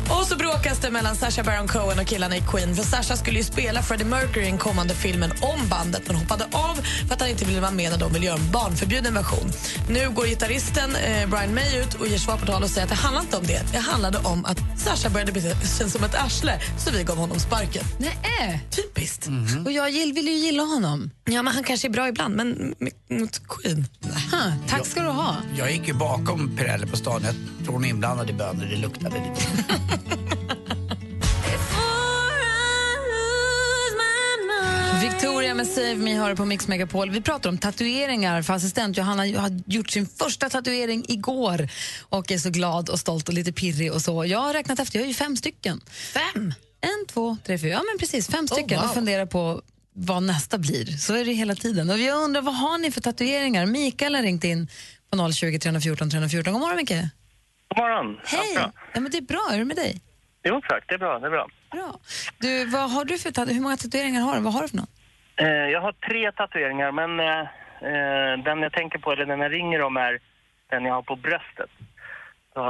Och så bråkas det mellan Sasha Baron Cohen och killarna i Queen. För Sasha skulle ju spela Freddie Mercury i den kommande filmen om bandet men hoppade av för att han inte ville vara med när de ville göra en barnförbjuden version. Nu går gitarristen eh, Brian May ut och ger svar på tal och säger att det handlade inte om det. Det handlade om att Sasha började *laughs* bete sig som ett arsle så vi gav honom sparken.
Nej.
Typiskt.
Mm-hmm. Och jag gill, vill ju gilla honom.
Ja, men han kanske är bra ibland, men mot Queen.
Ha, tack ska du ha.
Jag gick ju bakom Pirelli på stan. Jag tror hon är inblandad i bönor. Det luktade lite.
Victoria med Save Me hör på Mix Megapol. Vi pratar om tatueringar för assistent Johanna har gjort sin första tatuering igår och är så glad och stolt och lite pirrig och så. Jag har räknat efter, jag har ju fem stycken. Fem? En, två, tre, fyra. Ja men precis, fem stycken
wow.
och funderar på vad nästa blir. Så är det hela tiden. Och jag undrar, vad har ni för tatueringar? Mikael har ringt in på 020 314 314. God morgon Mikael.
God morgon.
Hej!
Ja, bra.
Ja, men det är bra, hur är det med dig?
Jo tack, det är bra. Det är bra.
Bra. Du, vad har du för tatu- hur många tatueringar har du? Vad har du för någon?
Eh, jag har tre tatueringar, men eh, eh, den jag tänker på, eller den jag ringer om, är den jag har på bröstet. Så,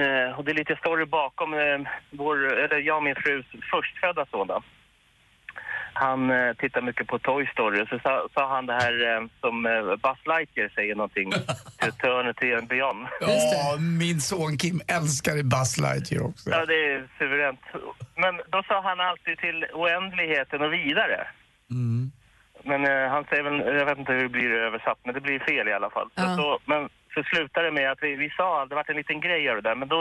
eh, och det är lite story bakom eh, vår, eller jag och min frus förstfödda son. Då. Han eh, tittar mycket på Toy Story och så sa, sa han det här eh, som eh, Buzz Lightyear säger någonting, to eternity and beyond.
Ja, min son Kim älskar Buzz Lightyear också.
Ja, det är suveränt. Men då sa han alltid till oändligheten och vidare.
Mm.
Men eh, han säger väl, jag vet inte hur det blir översatt, men det blir fel i alla fall. Så, så, men så slutade det med att vi, vi sa, det varit en liten grej av det där, men då...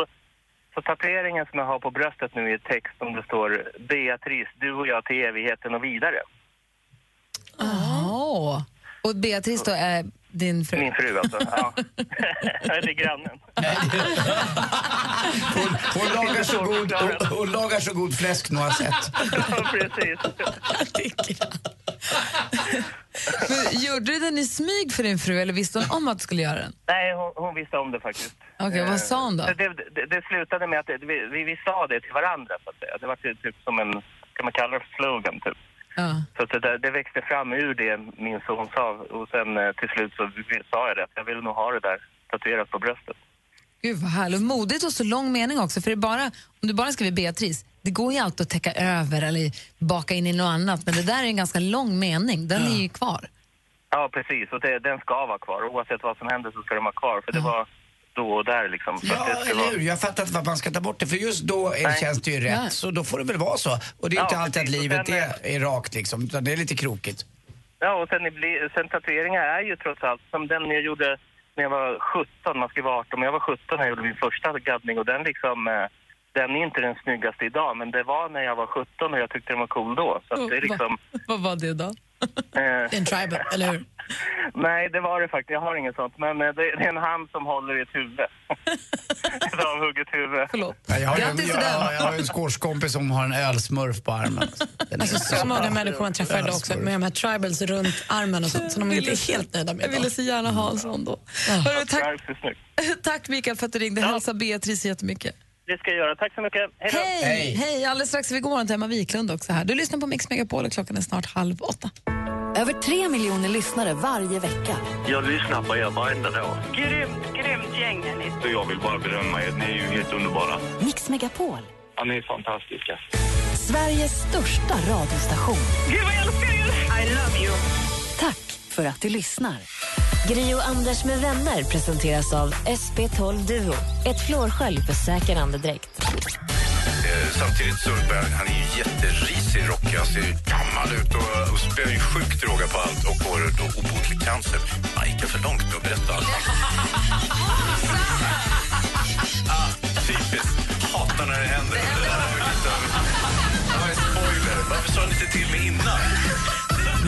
Så tatueringen som jag har på bröstet nu är text som det står Beatrice, du och jag till evigheten och vidare.
Jaha. Och Beatrice då är din fru?
Min fru alltså, ja. *laughs* det är grannen.
Hon lagar så god, hon, hon lagar så god fläsk nu har jag sett.
Precis.
*laughs* Men Gjorde du den i smyg för din fru eller visste hon om att du skulle göra den?
Nej, hon, hon visste om det faktiskt.
Okej, vad sa hon då?
Eh, Det, det, det slutade med att det, vi, vi, vi sa det till varandra, så att säga. Det var typ, typ som en, kan man kalla det för slogan, typ.
Ja.
Så att det, där- det växte fram ur det min son sa och sen eh, till slut så vi- sa jag det att jag vill nog ha det där tatuerat på bröstet.
Gud vad härligt. Modigt och så lång mening också. För det är bara, om du bara skriver Beatrice, det går ju alltid att täcka över eller baka in i något annat. Men det där är en ganska lång mening. Den är ju kvar.
Ja, precis. Och det, den ska vara kvar. Oavsett vad som händer så ska den vara kvar för
Mm.
det var då och där liksom. Så att det
Ja,
ska
eller
vara...
hur? Jag fattar inte varför man ska ta bort det, för just då är,
Nej.
känns det ju rätt.
Nej.
Så då får det väl vara så. Och det är
Ja,
inte alltid att
precis. eh, Och
livet
den,
är, är rakt liksom, utan det är lite krokigt.
Ja, och sen, det blir- sen tatueringar är ju trots allt som den jag gjorde när jag var 17, man ska vara 18, men jag var 17 när jag gjorde min första gaddning och den liksom, eh, den är inte den snyggaste idag, men det var när jag var 17 och jag tyckte den var cool då. Så
Mm,
att det är liksom...
Vad var det då?
eh,
Det är en tribal, eller hur?
Nej, det var det faktiskt. Jag har inget sånt. Men eh, det, det är en hand som håller i ett
*laughs*
huvud. *laughs* ett avhugget huvud.
Förlåt.
Ja, Jag har, ju-
Grattis till
jag,
den.
jag har ju en skårskompis som har en ölsmurf på armen. Den är-
Alltså, så många människor man träffar idag också med de här tribals runt armen och sånt som de inte är helt nöjda med.
Jag ville så gärna ha en sån då. Hörru, tack, *laughs* tack Mikael för att du ringde. Hälsa Beatrice jättemycket.
Det ska jag göra. Tack så mycket. Hej då.
Hej! Hej. Alldeles strax är vi går till Emma Wiklund också här. Du lyssnar på Mix Megapol och klockan är snart halv åtta.
Över tre miljoner lyssnare varje vecka.
Jag lyssnar på er varenda dag.
Grymt, grymt gäng är ni.
Så jag vill bara berömma er. Ni är ju helt underbara.
Mix Megapol,
Ja, ni är fantastiska.
Sveriges största radiostation.
Gud vad jag älskar er! I love you.
Tack för att du lyssnar. Gri och Anders med vänner presenteras av SP12 Duo. Ett flårskölj för säker andedräkt.
Eh, Samtidigt så bär han är ju jätterisig, rockig, han ser ju gammal ut och, och spär ju sjukt råga på allt och får då obotlig cancer. Han gick för långt med att berätta allt. Ah, typiskt. Hatar när det händer. Det där var ju lite av- det var en spoiler. Varför sa ni inte till mig innan?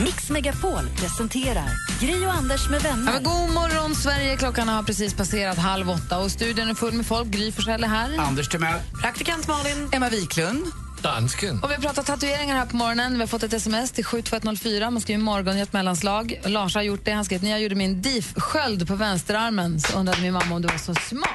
Mix Megapol presenterar Gri och Anders med
Ja,
vänner.
men god morgon, Sverige. Klockan har precis passerat halv åtta och studion är full med folk. Gry Forssell är här.
Anders Timell.
Praktikant Malin.
Emma Wiklund.
Dansken.
Och vi har pratat tatueringar här på morgonen. Vi har fått ett sms till 72104. Man skriver morgon i ett mellanslag. Lars har gjort det. Han skrev att när jag gjorde min DIF-sköld på vänsterarmen så undrade min mamma om du var så smart.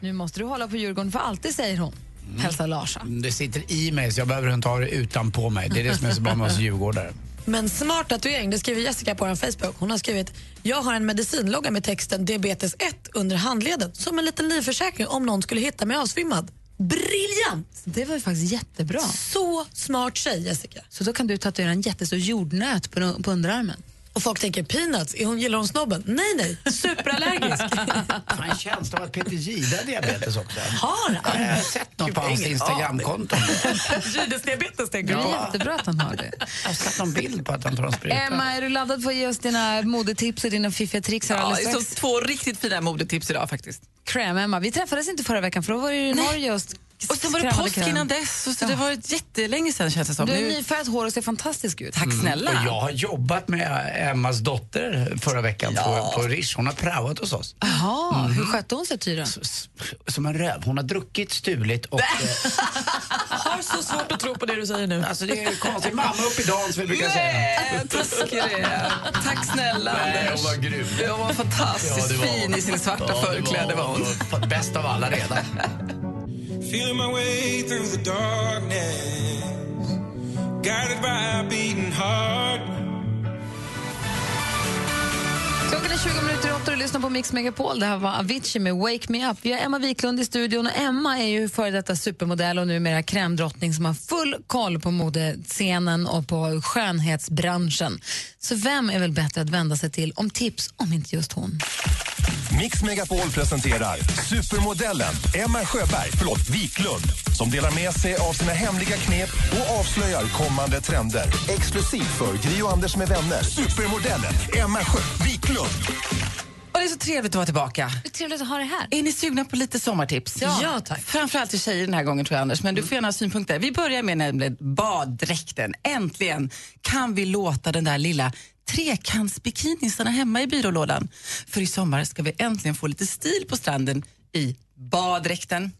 Nu måste du hålla på Djurgården för alltid, säger hon. Hälsa Lars.
Mm. Det sitter i mig så jag behöver inte ha det utan på mig. Det är det som är så bra med oss djurgårdare.
Men smart tatuering, det skriver Jessica på vår Facebook. Hon har skrivit jag har en medicinlogga med texten diabetes 1 under handleden som en liten livförsäkring om någon skulle hitta mig avsvimmad. Briljant!
Det var ju faktiskt jättebra.
Så smart tjej, Jessica.
Så då kan du tatuera en jättestor jordnöt på, på underarmen.
Och folk tänker peanuts, är hon, gillar hon snobben? Nej, nej, superallergisk.
*laughs* Fan, en känsla av att Peter Jihde har diabetes också.
Har
han? Jag har sett något på hans
Ingen
Instagramkonto.
*laughs*
Jidesdiabetes, tänker
Det är jättebra att han har det.
Jag har sett någon bild på att han tar en spruta.
Emma, är du laddad för att ge oss dina modetips och dina fiffiga tricks här
Ja,
alldeles
det
strax?
är två riktigt fina modetips idag faktiskt.
Kräm, Emma. Vi träffades inte förra veckan för då var du i Norge och
Och sen var det påsk innan dess, så, så det var ett jättelänge sedan känns det som.
Du har
Nu- Mm.
nyfärgat hår och ser fantastisk ut.
Tack snälla.
Mm. Och jag har jobbat med Emmas dotter förra veckan på, på Rish. Hon har praoat hos oss.
Jaha, hur
Mm.
skötte hon sig Tyra?
Som en röv. Hon har druckit, stulit och... eh,
*laughs* har så svårt att tro på det du säger nu.
Alltså det är konstigt. Mamma upp i dagen som vi brukar säga.
Nej, taskig du är. Tack snälla
Nej,
Anders.
hon var grym.
Hon var fantastiskt
Ja, det var hon.
fin i sin svarta
Ja, det var
förkläde var hon.
hon. Fått bäst av alla redan.
Feeling my way through the darkness, guided by a beating heart.
Klockan är 20 minuter i åtta och du lyssnar på Mix Megapol. Det här var Avicii med Wake Me Up. Vi har Emma Wiklund i studion och Emma är ju före detta supermodell och numera krämdrottning som har full koll på modescenen och på skönhetsbranschen. Så vem är väl bättre att vända sig till om tips om inte just hon?
Mix Megapol presenterar supermodellen Emma Sjöberg, förlåt, Wiklund som delar med sig av sina hemliga knep och avslöjar kommande trender. Exklusivt för Gri och Anders med vänner. Supermodellen Emma Sjö Wiklund.
Och det är så trevligt att vara tillbaka.
Hur trevligt att ha det här.
Är ni sugna på lite sommartips?
Ja. Ja, Mm.
tack. Framförallt till tjejer den här gången tror jag Anders, men du får gärna ha synpunkter. Vi börjar med nämligen baddräkten. Äntligen kan vi låta den där lilla trekantsbikinin stanna hemma i byrålådan. För i sommar ska vi äntligen få lite stil på stranden i baddräkten.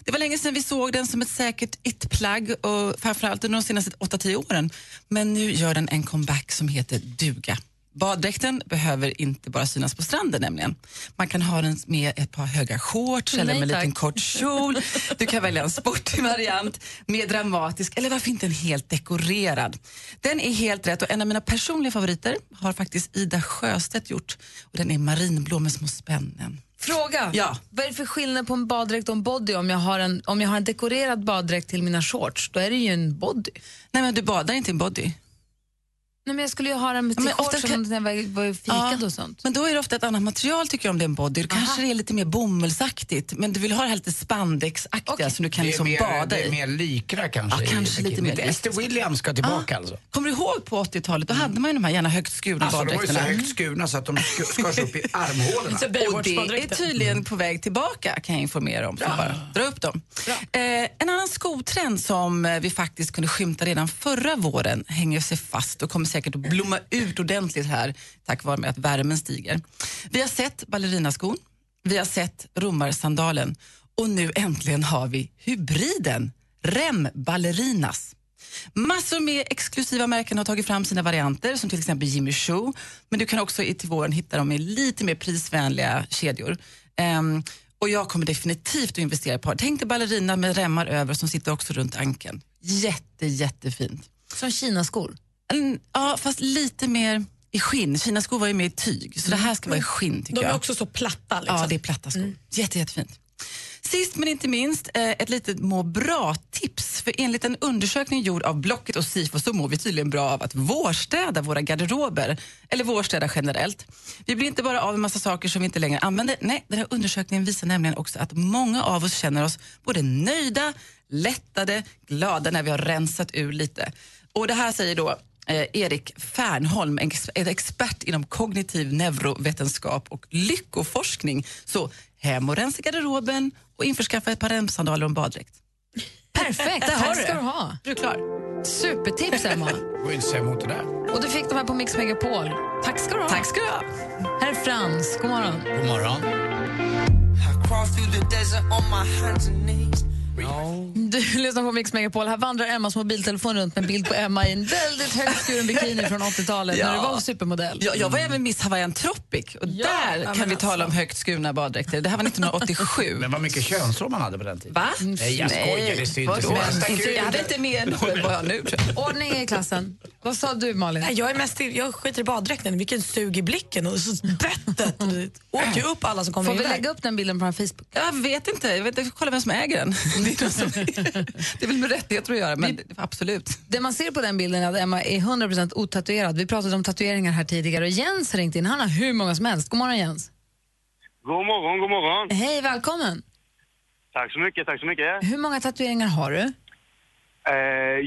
Det var länge sedan vi såg den som ett säkert it-plagg och framförallt under de senaste 8-10 åren. Men nu gör den en comeback som heter duga. Baddräkten behöver inte bara synas på stranden nämligen. Man kan ha den med ett par höga shorts eller
Nej,
med en liten
tack.
kort kjol. Du kan välja en sportig variant, mer dramatisk eller varför inte en helt dekorerad. Den är helt rätt och en av mina personliga favoriter har faktiskt Ida Sjöstedt gjort. Och Den är marinblå med små spännen.
Fråga!
Ja.
Vad är det för skillnad på en baddräkt och en body? Om jag, har en, om jag har en dekorerad baddräkt till mina shorts, då är det ju en body.
Nej, men du badar inte i en body.
Nej, men jag skulle ju ha den till
men
shorts
ofta
som
kan-
när jag var- var i fikat och sånt.
Men då är det ofta ett annat material tycker jag om det är en body. Då kanske det är lite mer bomullsaktigt men du vill ha det här lite spandexaktiga som du kan
det, är
liksom
mer,
bada
det är
i.
mer lykra kanske.
Ja,
i
kanske lite
bikini.
mer lykt.
Mr Williams ska tillbaka alltså.
Kommer du ihåg på 80-talet? Då hade man ju de här gärna högt skurna
Alltså de var ju så
baddräkterna.
högt skurna så att de sk- skars
*laughs*
upp i armhålorna.
Och det är tydligen på väg tillbaka kan jag informera om. Så bara dra upp dem. Eh, en annan skotrend som eh, vi faktiskt kunde skymta redan förra våren hänger sig fast och kommer säkert att blomma ut ordentligt här tack vare med att värmen stiger. Vi har sett ballerinaskon, vi har sett romarsandalen och nu äntligen har vi hybriden Rem Ballerinas. Massor med exklusiva märken har tagit fram sina varianter som till exempel Jimmy Choo. Men du kan också i till våren hitta dem i lite mer prisvänliga kedjor. Ehm, och jag kommer definitivt att investera i ett par. Tänk dig ballerina med remmar över som sitter också runt ankeln. Jätte, jättefint.
Som kinaskor? Mm,
Ja, fast lite mer i skinn. Kinaskor var ju mer i tyg, så det här ska vara i skinn tycker
De
jag.
är också så platta. Liksom.
Ja, det är platta skor. Jätte, jättefint. Sist men inte minst, eh, ett litet må bra-tips. För enligt en undersökning gjord av Blocket och Sifo så mår vi tydligen bra av att vårstäda våra garderober, eller vårstäda generellt. Vi blir inte bara av en massa saker som vi inte längre använder. Nej, den här undersökningen visar nämligen också att många av oss känner oss både nöjda, lättade, glada när vi har rensat ur lite. Och det här säger då eh, Erik Fernholm, en ex- en expert inom kognitiv neurovetenskap och lyckoforskning. Så hem och rensa garderoben och införskaffa ett par remsandaler och en baddräkt.
Perfekt,
Där har
tack
du
ska
det.
du ha.
Du är klar.
Supertips, Emma.
Går inte att säga emot det där.
Och du fick de här på Mix Megapol. Tack ska du ha.
Tack ska du ha.
Här är Frans, god morgon.
God morgon.
I crawl through the desert on my hands and knees.
Du lyssnar på Mix Megapol. Här vandrar Emmas mobiltelefon runt med en bild på Emma i en väldigt högskuren bikini från 80-talet
*laughs*
när du var supermodell.
Ja, jag var även Miss Hawaiian Tropic och där
men alltså.
kan vi tala om högt skurna baddräkter. Det här var 1987. Men
vad mycket könshår man hade på den tiden.
Va?
Nej, jag skojar. Det syns
vadå?
inte. Man stack
Inte-
ut.
Jag hade inte
*laughs*
mer än vad jag har nu. tror jag.
Ordning i klassen. Vad sa du, Malin?
Nej, jag, är mest till, jag skiter i baddräkten. Vilken sug i blicken. Och så *laughs* böttet. åt ju upp alla som kommer
Får
in
vi
där.
lägga upp den bilden på vår Facebook?
Jag vet inte. Jag, vet, jag får kolla vem som äger den. *laughs* Det är,
*laughs*
någon som, det är väl med rättigheter att göra, men absolut.
Det man ser på den bilden är att Emma är 100% otatuerad. Vi pratade om tatueringar här tidigare och Jens har ringt in. Han har hur många som helst. God morgon Jens.
God morgon, god morgon.
Hej, välkommen.
Tack så mycket, tack så mycket.
Hur många tatueringar har du?
Eh,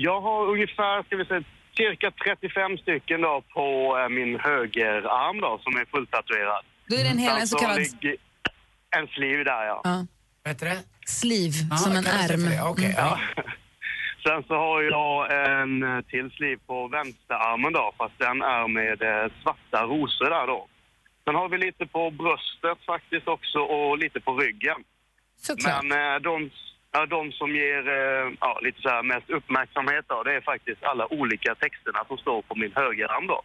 jag har ungefär, ska vi säga, cirka 35 stycken då på eh, min högerarm då, som är fulltatuerad.
Då är det en hel-
Sen
en så kallad-
ligger En sleeve där, ja.
Ja.
Vad heter det?
Sliv,
Ja,
som en
kallas det för
ärm. Mm.
det. Okej, ja. Sen så har jag en eh, till sleeve på vänsterarmen då, fast den är med eh, svarta rosor där då. Sen har vi lite på bröstet faktiskt också och lite på ryggen.
Såklart.
Men eh, de, ja, de som ger eh, ja, lite så här mest uppmärksamhet då, det är faktiskt alla olika texterna som står på min högerarm då.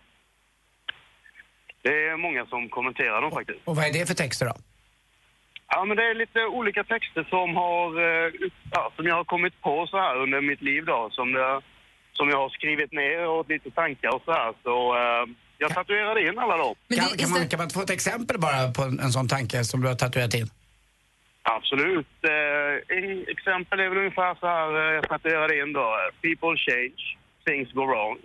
Det är många som kommenterar dem faktiskt.
Och vad är det för texter då?
Ja, men det är lite olika texter som, har, eh, ja, som jag har kommit på så här under mitt liv då, som, jag- som jag har skrivit ner och lite tankar och så här. Så eh, jag tatuerade in alla dem.
Kan, kan, man, kan man få ett exempel bara på en, en sån tanke som du har tatuerat in?
Absolut. Eh, i- exempel är väl ungefär så här, eh, jag tatuerade in då. eh, People change, things go wrong.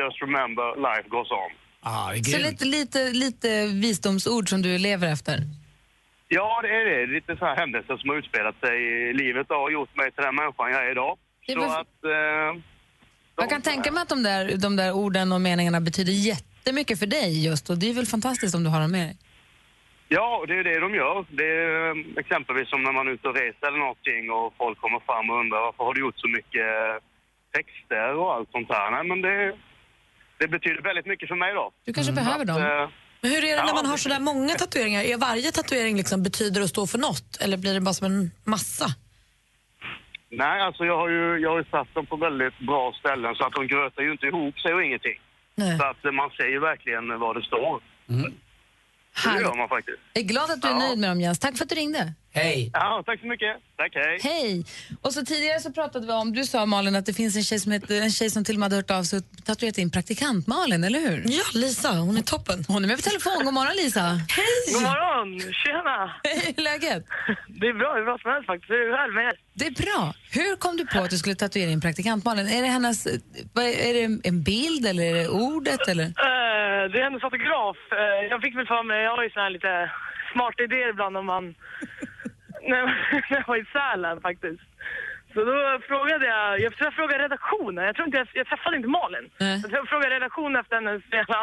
Just remember, life goes on.
Ah, det
Så lite, lite, lite visdomsord som du lever efter.
Ja, det är det. Det är Lite så här händelser som har utspelat sig i livet och har gjort mig till den människan jag är idag.
Det är
Så
väl-
att... Eh,
Jag kan tänka mig att de där, de där orden och meningarna betyder jättemycket för dig just och det är väl fantastiskt om du har dem med dig.
Ja, det är det de gör. Det är eh, exempelvis som när man är ute och reser eller någonting och folk kommer fram och undrar varför har du gjort så mycket eh, texter och allt sånt här. Nej, men det, det betyder väldigt mycket för mig då. Mm, eh,
Du kanske behöver
dem.
Men hur är det när man har så där många tatueringar? Är varje tatuering liksom betyder och står för något? Eller blir det bara som en massa?
Nej, alltså jag har ju, jag har ju satt dem på väldigt bra ställen så att de grötar ju inte ihop sig och ingenting. Så att eh, man ser ju verkligen vad det står.
Mm.
Det gör man faktiskt.
Jag är glad att du är
Ja.
nöjd med dem Jens. Tack för att du ringde.
Hej!
Ja, tack så mycket. Tack, hej.
Hej! Och så tidigare så pratade vi om, du sa Malin att det finns en tjej som, heter, en tjej som till och med hade hört av sig och tatuerat in praktikant-Malin, eller hur?
Ja, Lisa, hon är toppen.
Hon är med på telefon. God morgon Lisa! Hej!
God morgon! Tjena!
Hej, *laughs* hur är läget?
Det är bra, det är bra som helst faktiskt. Hur är det med er?
Det är bra. Hur kom du på att du skulle tatuera in praktikant-Malin? Är det hennes, vad är- är det en bild eller är det ordet eller?
Eh, det är hennes autograf. Eh, jag fick väl för mig, jag har ju såna här lite smarta idéer ibland om man... när när jag var i Sälen faktiskt. Så då frågade jag, jag tror jag frågade redaktionen, jag tror inte jag, jag träffade inte Malin.
Nej.
Så Jag frågade redaktionen efter hennes jävla,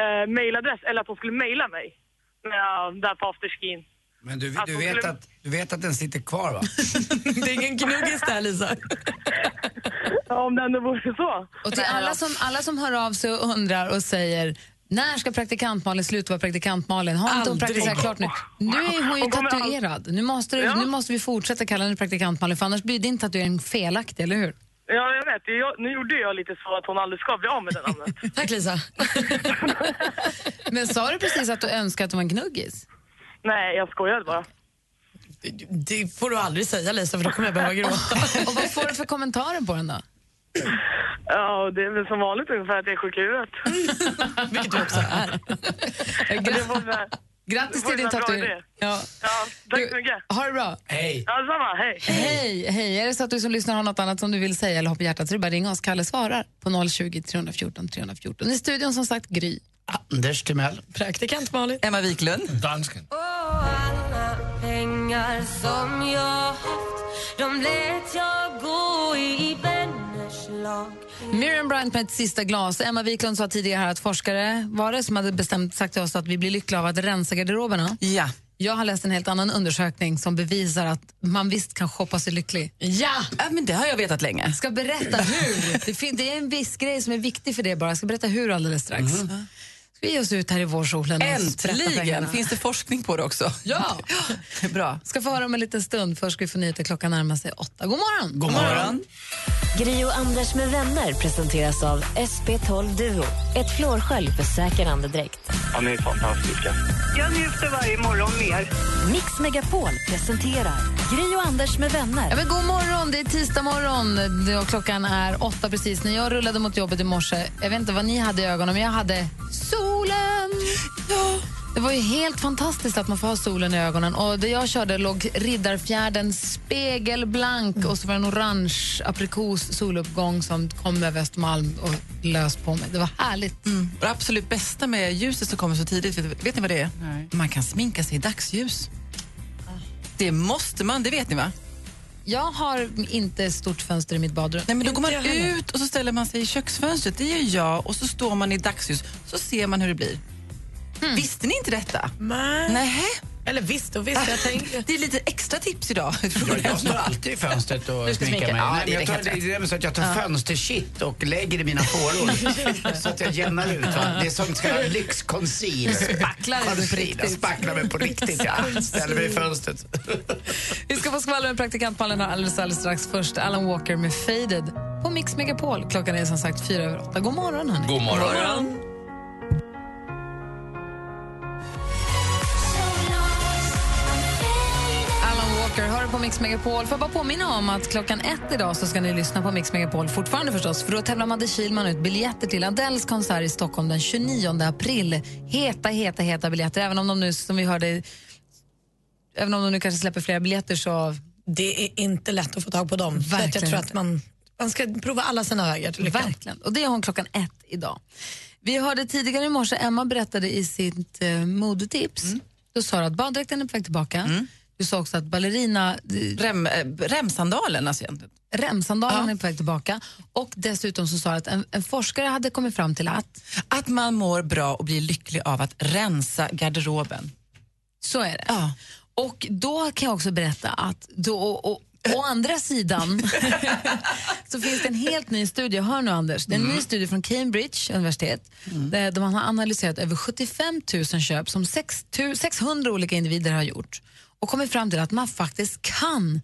eh, mailadress, eller att hon skulle mejla mig. När jag, där på afterskin.
Men du,
Att
du,
hon
vet
skulle-
att, du vet att den sitter kvar
*laughs*
va?
Det är ingen gnuggis där, Lisa.
*laughs* Ja, om det ändå vore så.
Och till alla
alltså-
som, alla som hör av sig och undrar och säger när ska praktikant-Malin sluta vara praktikant-Malin? Har inte hon
Aldrig.
praktiserat klart nu? Nu är hon ju
Hon kommer all-
tatuerad. Nu måste, du,
Ja.
nu måste vi fortsätta kalla henne praktikant-Malin för annars blir din tatuering felaktig, eller hur?
Ja, jag vet. Jag, nu gjorde jag lite så att hon aldrig ska bli av med det namnet.
Tack Lisa.
*laughs* Men sa du precis att du önskade att du var en gnuggis?
Nej, jag skojade bara.
Det får du aldrig säga Lisa, för då kommer jag behöva gråta.
*laughs* Och vad får du för kommentarer på den då?
Ja, och det är väl som vanligt ungefär att jag är sjuk i huvudet. Vilket du också
*laughs*
är.
Grattis till din tatuering. Ja.
Ja, tack så mycket.
Ha det bra.
Hej.
Ja, detsamma. Hej.
Hej, hej. Är det så att du som lyssnar har något annat som du vill säga eller har på hjärtat så är det bara att ringa oss. Kalle svarar på 020 314 314. I studion som sagt Gry.
Anders Timell.
Praktikant Malin.
Emma Wiklund.
Dansken.
Pengar som jag haft, de lät jag gå i vänners lag
Miriam Bryant med ett sista glas. Emma Wiklund sa tidigare här att forskare var det som hade bestämt sagt till oss att vi blir lyckliga av att rensa garderoberna.
Ja.
Jag har läst en helt annan undersökning som bevisar att man visst kan shoppa sig lycklig.
Ja! men det har jag vetat länge.
ska berätta hur. Det, fin- det är en viss grej som är viktig för det bara. Jag ska berätta hur alldeles strax. Ska vi oss ut här i vårsolen. och sprätta pengarna.
Mm. Äntligen! Finns det forskning på det också?
Ja.
*laughs* Bra.
Ska få höra om en liten stund. Först ska vi få nyheter. Klockan närmar sig åtta. God morgon!
God morgon. Gri och Anders med vänner presenteras av SP12 Duo. Ett flårskölj för säker andedräkt.
Ja, ni är fantastiska.
Jag njuter varje morgon mer. Mix Megapol presenterar Gri och Anders med vänner.
Ja, men god morgon, det är tisdag morgon Det- och klockan är åtta precis. När jag rullade mot jobbet i morse, jag vet inte vad ni hade i ögonen, men jag hade solen. Ja. Det var ju helt fantastiskt att man får ha solen i ögonen. Och det jag körde låg Riddarfjärden spegelblank
Mm.
och så var det en orange aprikos soluppgång som kom över Östermalm och lös på mig. Det var härligt.
Mm. Och Det absolut bästa med ljuset som kommer så tidigt, vet, vet ni vad det är? Man kan sminka sig i dagsljus. Det måste man, det vet ni va?
Jag har inte stort fönster i mitt badrum.
Nej, men då går man ut och så ställer man sig i köksfönstret, det gör jag, och så står man i dagsljus, så ser man hur det blir. Visste ni inte detta?
Hmm. Nej.
Nej.
Eller visst och visst, jag tänkte...
*laughs* Det är lite extra tips idag.
Ja,
*laughs*
jag står alltid i fönstret
Du
och
ska
sminkar
sminka.
mig.
Ja,
Nej,
det
men
är
jag tar,
helt
det
rätt.
är det så att jag tar
Ja.
fönstershit och lägger i
*laughs*
mina fåror så att jag jämnar ut. Va? Det är sånt ska vara lyxconcealer.
Spacklar du på
Concealer.
riktigt?
Spacklar mig på riktigt,
*laughs*
ja. Ställer mig i fönstret.
Vi ska få skvaller med praktikantmallen alldeles, alldeles strax. Först Alan Walker med Faded på Mix Megapol. Klockan är som sagt fyra över åtta. God morgon, hörni.
God morgon. God
Alan Walker hör på Mix Megapol. Får jag bara påminna om att klockan ett idag så ska ni lyssna på Mix Megapol fortfarande förstås. För då tävlar Madde Kihlman ut biljetter till Adeles konsert i Stockholm den 29 april. Heta, heta, heta biljetter. Även om de nu, som vi hörde, även om de nu kanske släpper flera biljetter så...
Det är inte lätt att få tag på dem. Så att jag
Verkligen
tror att man, man ska prova alla sina vägar till lyckan.
Verkligen. Och det är hon klockan ett idag. Vi hörde tidigare i morse, Emma berättade i sitt eh, modetips,
Mm.
då sa du att baddräkten är på väg tillbaka. Du sa också att ballerina... eh,
Rem, eh, remsandalen alltså egentligen.
Remsandalen är på väg tillbaka. Och dessutom så sa du att en, en forskare hade kommit fram till att...
Att man mår bra och blir lycklig av att rensa garderoben.
Så är det. Och då kan jag också berätta att då, och, och, å andra sidan så finns det en helt ny studie, hör nu Anders, det är en ny studie från Cambridge universitet där där man har analyserat över 75 000 köp som 6 tu- 600 olika individer har gjort och kommit fram till att man faktiskt kan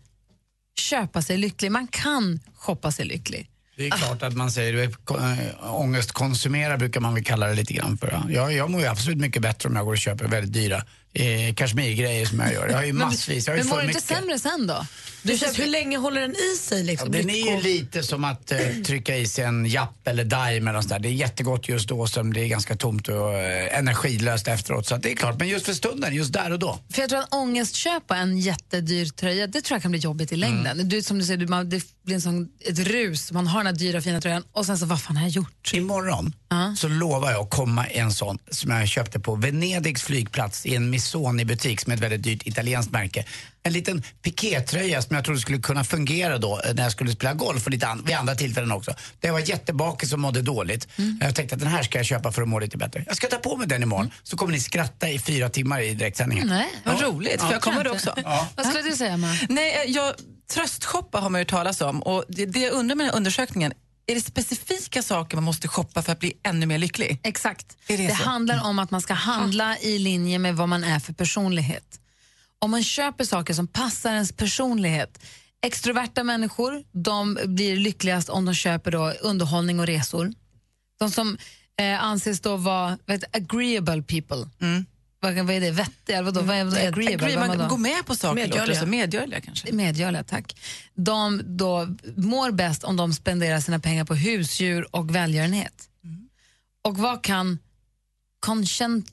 köpa sig lycklig, man kan shoppa sig lycklig.
Det är klart att man säger, du är ko- äh, ångestkonsumera brukar man väl kalla det lite grann för. ja. Jag, jag mår ju absolut mycket bättre om jag går och köper väldigt dyra eh, kashmirgrejer som jag gör. Jag har ju massvis, jag har ju
Men mår
för
du inte
mycket.
sämre sen då?
Du känns, hur länge håller den i sig? Liksom?
Den är ju
Lycko-
lite som att eh, trycka i sig en Japp eller Daim eller nåt sånt där. Det är jättegott just då, som det är ganska tomt och eh, energilöst efteråt. Så att det är klart, men just för stunden, just där och då.
För jag tror att ångestköpa en jättedyr tröja, det tror jag kan bli jobbigt i längden.
Mm.
Du, som du säger, du, man, det blir en sån, ett rus, man har den här dyra fina tröjan och sen så, vad fan har jag gjort?
Imorgon så lovar jag att komma i en sån som jag köpte på Venedigs flygplats i en Missoni-butik som är ett väldigt dyrt italienskt märke. En liten pikétröja som jag trodde skulle kunna fungera då eh, när jag skulle spela golf och lite an- vid andra tillfällen också. Där jag var jättebakis och mådde dåligt. Jag tänkte att den här ska jag köpa för att må lite bättre. Jag ska ta på mig den imorgon så kommer ni skratta i fyra timmar i direktsändningen.
Nej.
Vad roligt, för jag kommer då också.
Ja.
Vad skulle du säga, Emma?
Nej, eh, jag, tröstshoppa har man ju hört talas om och det, det jag undrar med den här undersökningen, är det specifika saker man måste shoppa för att bli ännu mer lycklig?
Exakt.
Är
Det,
det så?
handlar om att man ska handla i linje med vad man är för personlighet. Om man köper saker som passar ens personlighet. Extroverta människor de blir lyckligast om de köper då underhållning och resor. De som eh, anses då vara vet, agreeable people. Vad, vad är det? Vettiga? eller Vadå? Vad är agreeable?
Agree,
Vad är
Mm. man
då?
går med på saker,
Medgörliga.
medgörliga, medgörliga kanske.
medgörliga, tack. De då mår bäst om de spenderar sina pengar på husdjur och välgörenhet.
Mm.
Och vad kan conscient...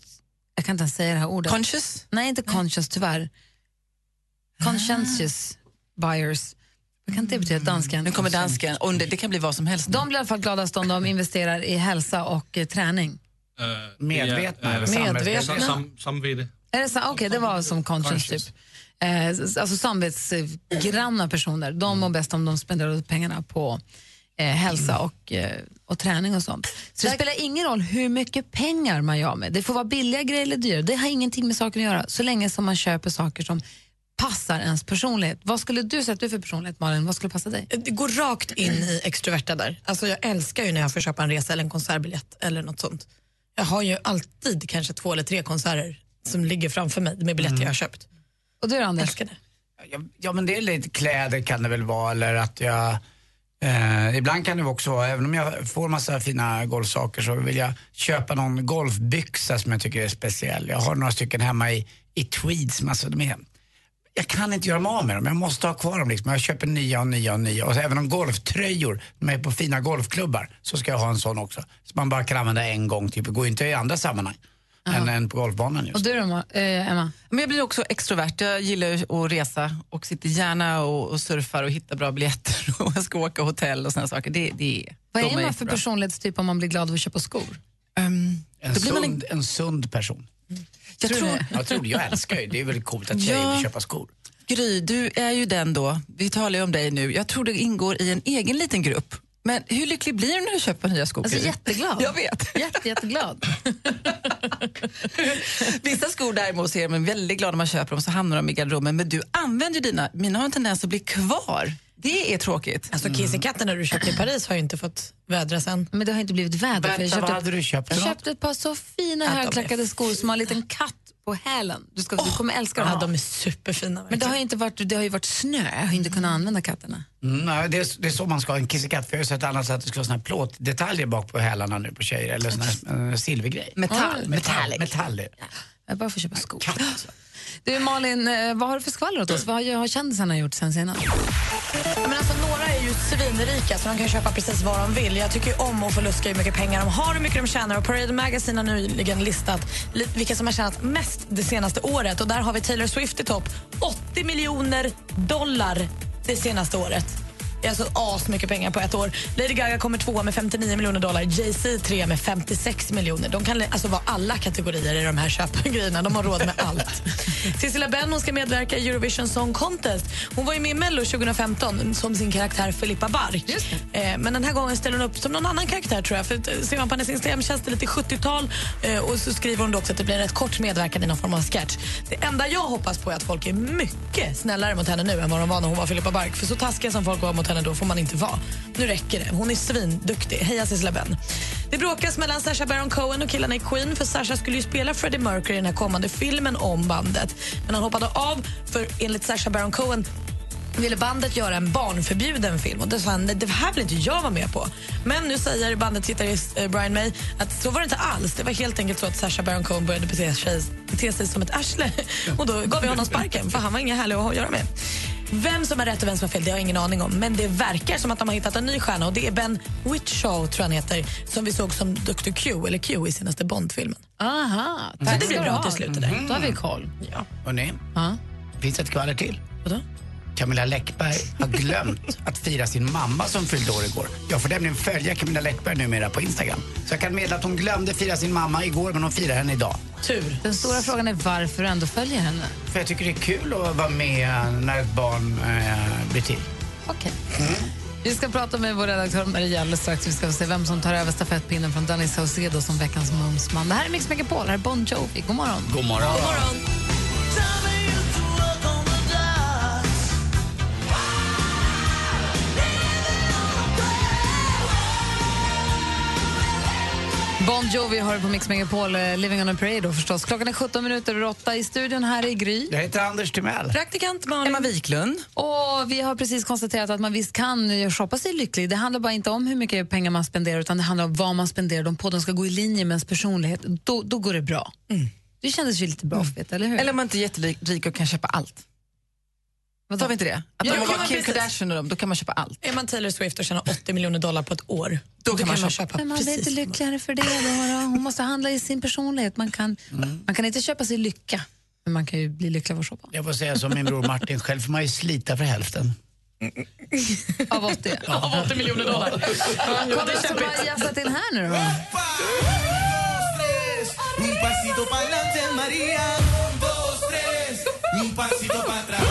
Jag kan inte ens säga det här ordet.
Conscious?
Nej, inte conscious tyvärr. Conscientious buyers. Vad kan det betyda? Dansken.
Nu kommer dansken, och det, det kan bli vad som helst.
De blir i alla fall gladast om de investerar i hälsa och eh, träning.
Medvetna
eh,
eller
Medvetna.
Sam, samvete.
Är det så? Okej, det var som conscious, typ. Eh, s- alltså samvetsgranna personer. De mår bäst om de spenderar pengarna på eh, hälsa och, eh, och träning och sånt. Så det spelar ingen roll hur mycket pengar man gör med. Det får vara billiga grejer eller dyra. Det har ingenting med saken att göra. Så länge som man köper saker som passar ens personlighet. Vad skulle du säga att du är för personlighet, Malin? Vad skulle passa dig?
Det går rakt in i extroverta där. Alltså jag älskar ju när jag får köpa en resa eller en konsertbiljett eller något sånt. Jag har ju alltid kanske två eller tre konserter som ligger framför mig med biljetter jag har köpt.
Mm. Och du då Anders?
Älskar det.
Ja men det är lite kläder kan det väl vara eller att jag Eh, ibland kan det också vara, även om jag får massa fina golfsaker så vill jag köpa någon golfbyxa som jag tycker är speciell. Jag har några stycken hemma i, i tweeds, men alltså de är, jag kan inte göra mig av med dem, jag måste ha kvar dem liksom. Jag köper nya och nya och nya. Och så även om golftröjor, när jag är på fina golfklubbar, så ska jag ha en sån också. Som man bara kan använda en gång, typ. det går ju inte i andra sammanhang än, än på golfbanan just.
Och du då Ma- eh, Emma?
Men jag blir också extrovert. Jag gillar ju att resa och sitter gärna och, och surfar och hittar bra biljetter *laughs* och jag ska åka hotell och såna saker. Det, det,
Vad
de
är man för
jättebra.
personlighetstyp om man blir glad av att köpa skor?
En,
Ehm, Då blir man en-
sund, en sund person.
Jag tror-
Mm. jag, tror, jag älskar ju, det är väl coolt att tjejer
Ja.
vill köpa skor.
Gry, du är ju den då, vi talar ju om dig nu, jag tror du ingår i en egen liten grupp. Men hur lycklig blir du när du köper nya skor?
Alltså
Gry? *laughs*
jätteglad.
Jag vet.
Jätte, jätteglad.
Vissa skor däremot så är man väldigt glad när man köper dem så hamnar de i garderoben. Men du använder ju dina, mina har en tendens att bli kvar. Det är tråkigt.
Alltså kissekatten när du köpte i Paris har ju inte fått vädras än.
Men det har inte blivit väder. för jag köpte- Jag köpte ett par så fina
Att de är
högklackade skor som har en liten katt på hälen. Du, ska, du kommer älska dem.
Ja, de är superfina.
Men det har, ju inte varit, det har ju varit snö, jag har ju inte kunnat använda katterna.
Mm, nej, det, är, det är så man ska ha en kissekatt. För jag har ju sett annars att det ska vara såna här plåtdetaljer bak på hälarna nu på tjejer. Eller sån här eh, silvergrej.
Metall.
Mm. Metall. Metall.
Jag bara får köpa skor. *gasps* Du Malin, eh, vad har du för skvaller åt oss? Vad har, har kändisarna gjort sen senast?
Ja, Men alltså, några är ju svinrika så de kan köpa precis vad de vill. Jag tycker ju om att få luska hur mycket pengar de har och hur mycket de tjänar. Och Parade Magazine har nyligen listat li- vilka som har tjänat mest det senaste året. Och Där har vi Taylor Swift i topp. 80 miljoner dollar det senaste året. Det är alltså asmycket pengar på ett år. Lady Gaga kommer tvåa med 59 miljoner dollar. Jay-Z trea med 56 miljoner. De kan li- alltså vara alla kategorier i de här köpgrejerna. De har råd med allt. *laughs* Sissela Benn hon ska medverka i Eurovision Song Contest. Hon var ju med i Mello 2015 som sin karaktär Filippa Bark. Eh, men den här gången ställer hon upp som någon annan karaktär tror jag. För att, eh, ser man på hennes Instagram-tjänst det är lite 70-tal eh, och så skriver hon då också att det blir en rätt kort medverkan i någon form av sketch. Det enda jag hoppas på är att folk är mycket snällare mot henne nu än vad de var när hon var Filippa Bark. För så taskiga som folk var mot henne då får man inte vara. Nu räcker det. Hon är svinduktig. Heja Sissela Benn. Det bråkas mellan Sasha Baron Cohen och killarna i Queen för Sasha skulle ju spela Freddie Mercury i den här kommande filmen om bandet. Men han hoppade av för enligt Sasha Baron Cohen ville bandet göra en barnförbjuden film och då sa han "Nej, det här vill inte jag vara med på. Men nu säger bandets gitarrist eh, Brian May att så var det inte alls. Det var helt enkelt så att Sasha Baron Cohen började bete sig, bete sig som ett arsle *laughs* och då gav vi honom sparken för han var ingen härlig att ha att göra med. Vem som har rätt och vem som har fel det har jag ingen aning om men det verkar som att de har hittat en ny stjärna och det är Ben Whishaw tror jag han heter som vi såg som Dr Q eller Q i senaste Bond-filmen.
Aha,
Så
tack
det
ska
blir
du
bra
ha.
till slut det där.
Mm. Då har vi koll.
Ja.
Mm. Hörrni, finns det ett kvaller till?
Vadå?
Camilla Läckberg har *laughs* glömt att fira sin mamma som fyllde år igår. Jag får nämligen följa Camilla Läckberg numera på Instagram. Så jag kan meddela att hon glömde fira sin mamma igår men hon firar henne idag.
Tur.
Den stora frågan är varför du ändå följer henne.
För jag tycker det är kul att vara med när ett barn eh, blir till.
Vi ska prata med vår redaktör Maria alldeles strax. Vi ska se vem som tar över stafettpinnen från Danny Saucedo som veckans mumsman. Det här är Mix Megapol, här är Bon Jovi. God morgon.
God morgon.
God morgon. Bon Jovi har det på Mix Megapol, eh, Living on a Prayer då förstås. Klockan är 17 minuter över 8 i studion här i Gry.
Jag heter Anders Timell.
Praktikant Malin.
Emma Wiklund.
Och vi har precis konstaterat att man visst kan eh, shoppa sig lycklig. Det handlar bara inte om hur mycket pengar man spenderar utan det handlar om vad man spenderar dem på. De ska gå i linje med ens personlighet. Då, då går det bra. Det kändes ju lite bra
Mm.
att veta, eller hur?
Eller om man inte är jätterik och kan köpa allt. Tar vi inte det? Att
Jo,
om man
jo,
var
men
Kim
precis.
Kardashian och dem, då kan man köpa allt.
Är man Taylor Swift och tjänar 80 miljoner dollar på ett år då, kan man, köpa
Men man blir
precis
inte lyckligare för det. Då. då. Hon måste handla i sin personlighet. Man kan,
Mm.
man kan inte köpa sig lycka, men man kan ju bli lycklig av att shoppa.
Jag får säga som min bror Martin, själv får man ju slita för hälften.
Av 80.
Av 80 miljoner dollar.
Kolla vem som har jazzat in här nu då.
Un pasito para adelante, María. Un, dos, tres. Un pasito para atrás.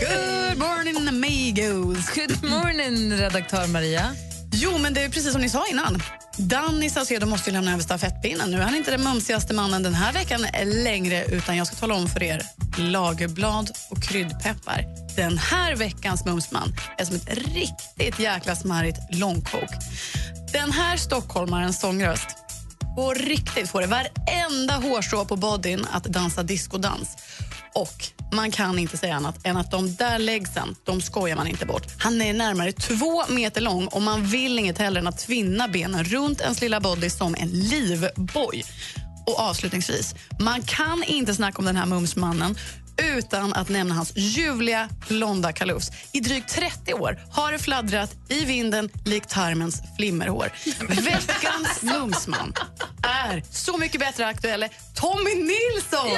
Good morning, amigos.
Good morning, redaktör Maria.
Jo, men det är precis som ni sa innan. Danny Saucedo måste ju lämna över stafettpinnen. Nu är han inte den mumsigaste mannen den här veckan längre utan jag ska tala om för er lagerblad och kryddpeppar. Den här veckans mumsman är som ett riktigt jäkla smarrigt långkok. Den här stockholmaren sångröst På riktigt får det varenda hårstrå på bodyn att dansa diskodans. Och man kan inte säga annat än att de där läggsen, de skojar man inte bort. Han är närmare två meter lång och man vill inget hellre än att tvinna benen runt ens lilla body som en livboj. Och avslutningsvis, man kan inte snacka om den här mumsmannen utan att nämna hans ljuvliga blonda kalufs. I drygt 30 år har det fladdrat i vinden likt tarmens flimmerhår. Veckans mumsman är Så mycket bättre aktuelle Tommy Nilsson!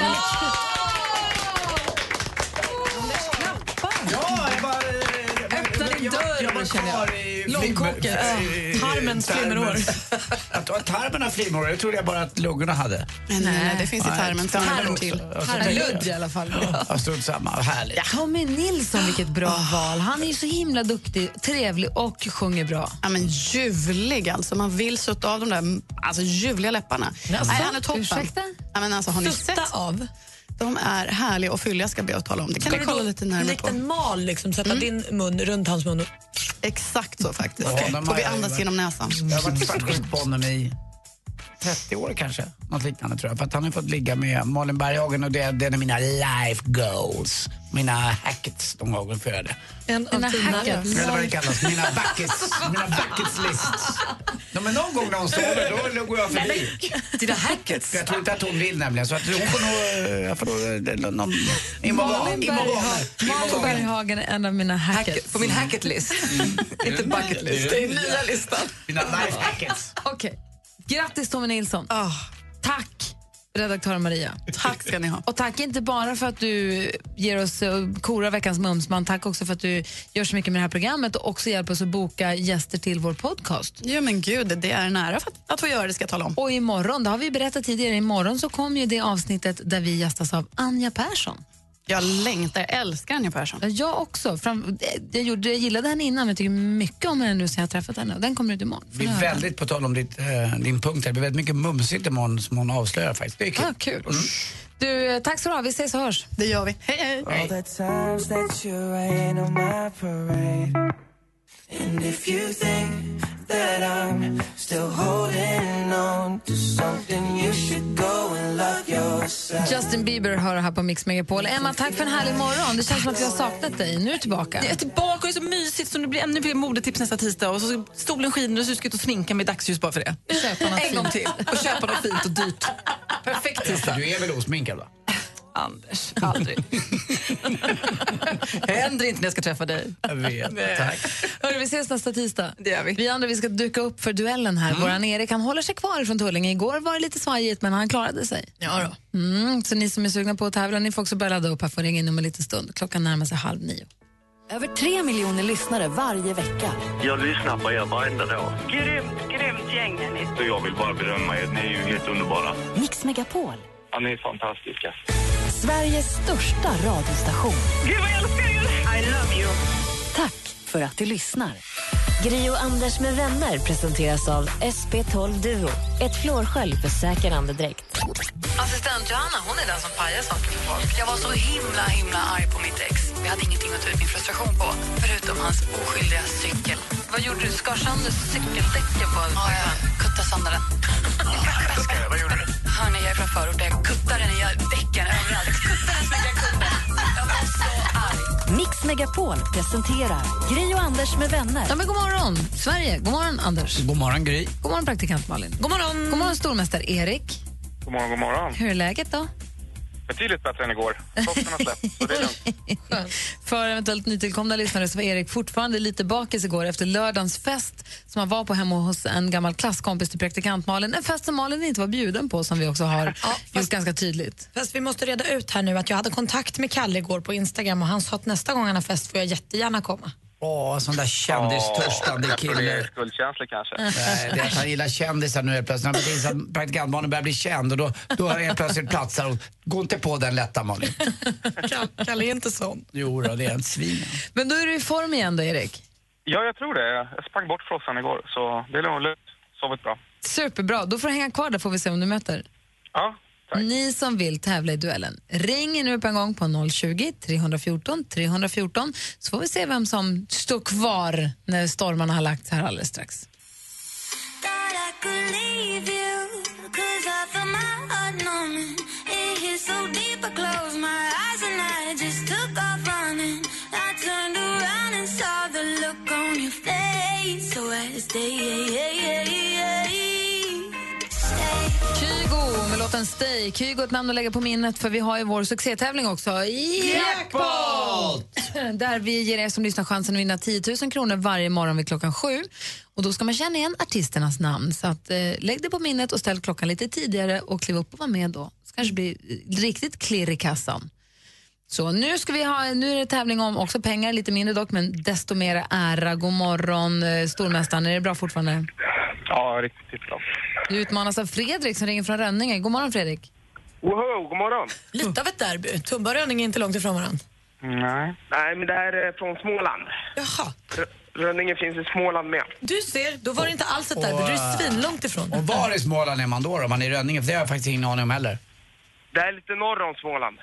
Ja, jag bara... Öppna din dörr, jag var kvar i
Långkåken.
flimmer-
Ja. Tarmens flimmerhår.
Att att tarmen har flimmerhår, det trodde jag bara att lungorna hade.
Nej, nej, det finns i
Nej,
tarmen.
tarmen
Tarm
också.
till.
Ja, så-
Tarmludd i alla fall.
Ja, strunt samma, härligt.
Tommy Nilsson, vilket bra val. Han är ju så himla duktig, trevlig och sjunger bra.
Ja, men ljuvlig alltså. Man vill sutta av de där alltså, ljuvliga läpparna.
Alltså,
Nej, han är toppen.
ursäkta?
Ja, men alltså, har ni
Sutta
sett? av? De är härliga och fylliga ska jag be att tala om. Det kan
Ska
ni
du
kolla
då
lite närmare
likt
på.
en mal liksom, sätta din mun runt hans mun? Och...
Exakt så faktiskt.
Ja, de
Får vi
har-
andas genom näsan?
Jag har varit svartsjuk på honom i 30 år kanske. Något liknande tror jag. För att han har fått ligga med Malin Berghagen och det, det är mina life goals. Mina hackets de gången för det.
En av
Dina
dina
hackers.
Eller vad det kallas. Mina buckets. Mina buckets lists. Ja, men någon gång när hon sover då går jag förbi.
Dina hackets?
Jag tror inte att hon vill nämligen. Så att hon får nog... eh, Jag får nog... eh, någon- någon-
Malin
Imorgon. Imorgon.
Bergha- Malin Berghagen är en av mina hackers.
På min hacketlist. Inte bucket list. Det är nya listan.
Mina life hackets.
*laughs* Okej. Grattis, Tommy Nilsson.
Ah.
Tack, redaktör Maria.
Tack ska ni ha.
Och tack inte bara för att du ger oss eh, korar veckans mumsman, tack också för att du gör så mycket med det här programmet och också hjälper oss att boka gäster till vår podcast.
Ja men gud, det är en ära för att, att få göra det ska jag tala om.
Och imorgon, det har vi berättat tidigare, imorgon så kommer ju det avsnittet där vi gästas av Anja Persson.
Jag längtar, älskar Anja Persson.
Jag också. Fram, eh, jag, gjorde, jag gillade henne innan, men jag tycker mycket om henne nu sen jag har träffat henne. Och Den kommer ut imorgon.
Det blir väldigt, på tal om ditt, eh, din punkt här, det blir väldigt mycket mumsigt imorgon som hon avslöjar faktiskt. Det är kul.
Ah, kul. Du, eh, tack så du ha. Vi ses och hörs.
Det gör vi. Hej, hej.
All the times that you rain on my parade. And if you think that I'm still holding on to something, you should go and love yourself.
Justin Bieber hör här på Mix Megapol. Emma, tack för en härlig morgon. Det känns som att vi har saknat dig. Nu är du tillbaka.
Jag är tillbaka och det är så mysigt. Så nu blir ännu fler modetips nästa tisdag. Och så stolen skiner och så ska jag ut och sminka mig i dagsljus bara för det.
Köpa något
*laughs* en gång till. Och köpa något fint och dyrt. Perfekt
Ja,
tisdag.
Du är väl osminkad va?
*laughs* Anders, aldrig. jag händer inte när jag ska träffa dig.
Jag
*laughs*
vet. Tack.
Hörru, vi ses nästa tisdag.
Det gör vi.
Vi andra vi ska duka upp för duellen här. Våran Erik han håller sig kvar från Tullinge. Igår var det lite svajigt men han klarade sig.
Ja då.
Mm, så ni som är sugna på att tävla ni får också börja ladda upp här. Får ringa in om en liten stund. Klockan närmar sig halv nio.
Över tre miljoner lyssnare varje vecka.
Jag lyssnar på er varenda dag.
Grymt, grymt gäng är ni.
Så jag vill bara berömma er. Ni är ju helt underbara.
Mix Megapol,
Ja, ni är fantastiska.
Sveriges största radiostation.
Gud vad jag älskar er! I love you.
Tack för att du lyssnar. Gri och Anders med vänner presenteras av SP12 Duo. Ett flårskölj för säker andedräkt.
Assistent Johanna hon är den som pajar saker för folk.
Jag var så himla, himla arg på mitt ex. Jag hade ingenting att ta ut min frustration på, förutom hans oskyldiga cykel. Vad gjorde du? Skar sönder cykeldäcken på Ja, jag kuttade sönder den.
Vad gjorde du?
Hörni, jag är från förort. Jag kuttade den i däcken överallt. Kuttade den så mycket jag kunde. Jag var så arg.
Mix Megapol presenterar Gri och Anders med vänner.
Ja, men god morgon, Sverige. God morgon, Anders.
God morgon Gry.
God morgon, praktikant Malin.
God morgon.
God morgon, stormästare Erik.
God morgon, god morgon.
Hur är läget då?
Betydligt bättre än igår. Toppen har släppt, så det är lugnt.
För eventuellt nytillkomna lyssnare så var Erik fortfarande lite bakis igår efter lördagens fest som han var på hemma hos en gammal klasskompis till praktikant Malin. En fest som Malin inte var bjuden på som vi också har gjort ganska tydligt.
Fast vi måste reda ut här nu att jag hade kontakt med Kalle igår på Instagram och han sa att nästa gång han har fest får jag jättegärna komma.
Åh, sån där kändistörstande
Ja, Jag tror det är
kille.
skuldkänsla kanske.
Nej, det är att han gillar kändisar nu helt plötsligt. Han precis att praktikantbarnen börjar bli känd och då, då har jag plötsligt platsar och gå inte på den lätta Malin.
Kalle är inte sån.
Jo då, det är en *laughs* svin.
Men då är du i form igen då, Erik.
Ja, jag tror det. Jag sprang bort frossan igår, så det är nog lugnt. Sovit bra.
Superbra, då får du hänga kvar där får vi se om du möter.
Ja,
Ni som vill tävla i duellen, ring nu på en gång på 020 314 314 så får vi se vem som står kvar när stormarna har lagt sig här alldeles strax.
Thought I could leave you,
låten Stay. Kan ju gå ett namn att lägga på minnet för vi har ju vår succétävling också. Jackpot! *clears throat* Där vi ger er som lyssnar chansen att vinna 10 000 kronor varje morgon vid klockan sju. Och då ska man känna igen artisternas namn. Så att, eh, lägg det på minnet och ställ klockan lite tidigare och kliv upp och var med då. Så kanske det blir eh, riktigt klirr i kassan. Så nu, ska vi ha, nu är det tävling om också pengar, lite mindre dock, men desto mer ära. God morgon, eh, stormästaren. Är det bra fortfarande?
Ja, riktigt bra.
Du utmanas av Fredrik som ringer från Rönninge. God morgon Fredrik.
Wow, god morgon.
Lite av ett derby. Tumba och Rönninge är inte långt ifrån varandra.
Nej. Nej, men det här är från Småland.
Jaha.
R- Rönninge finns i Småland med.
Du ser, då var det inte alls ett derby. Du är svinlångt ifrån.
eh, Och var i Småland är man då? Om man är i Rönninge? För det har jag faktiskt ingen aning om heller.
Det är lite norr om Småland.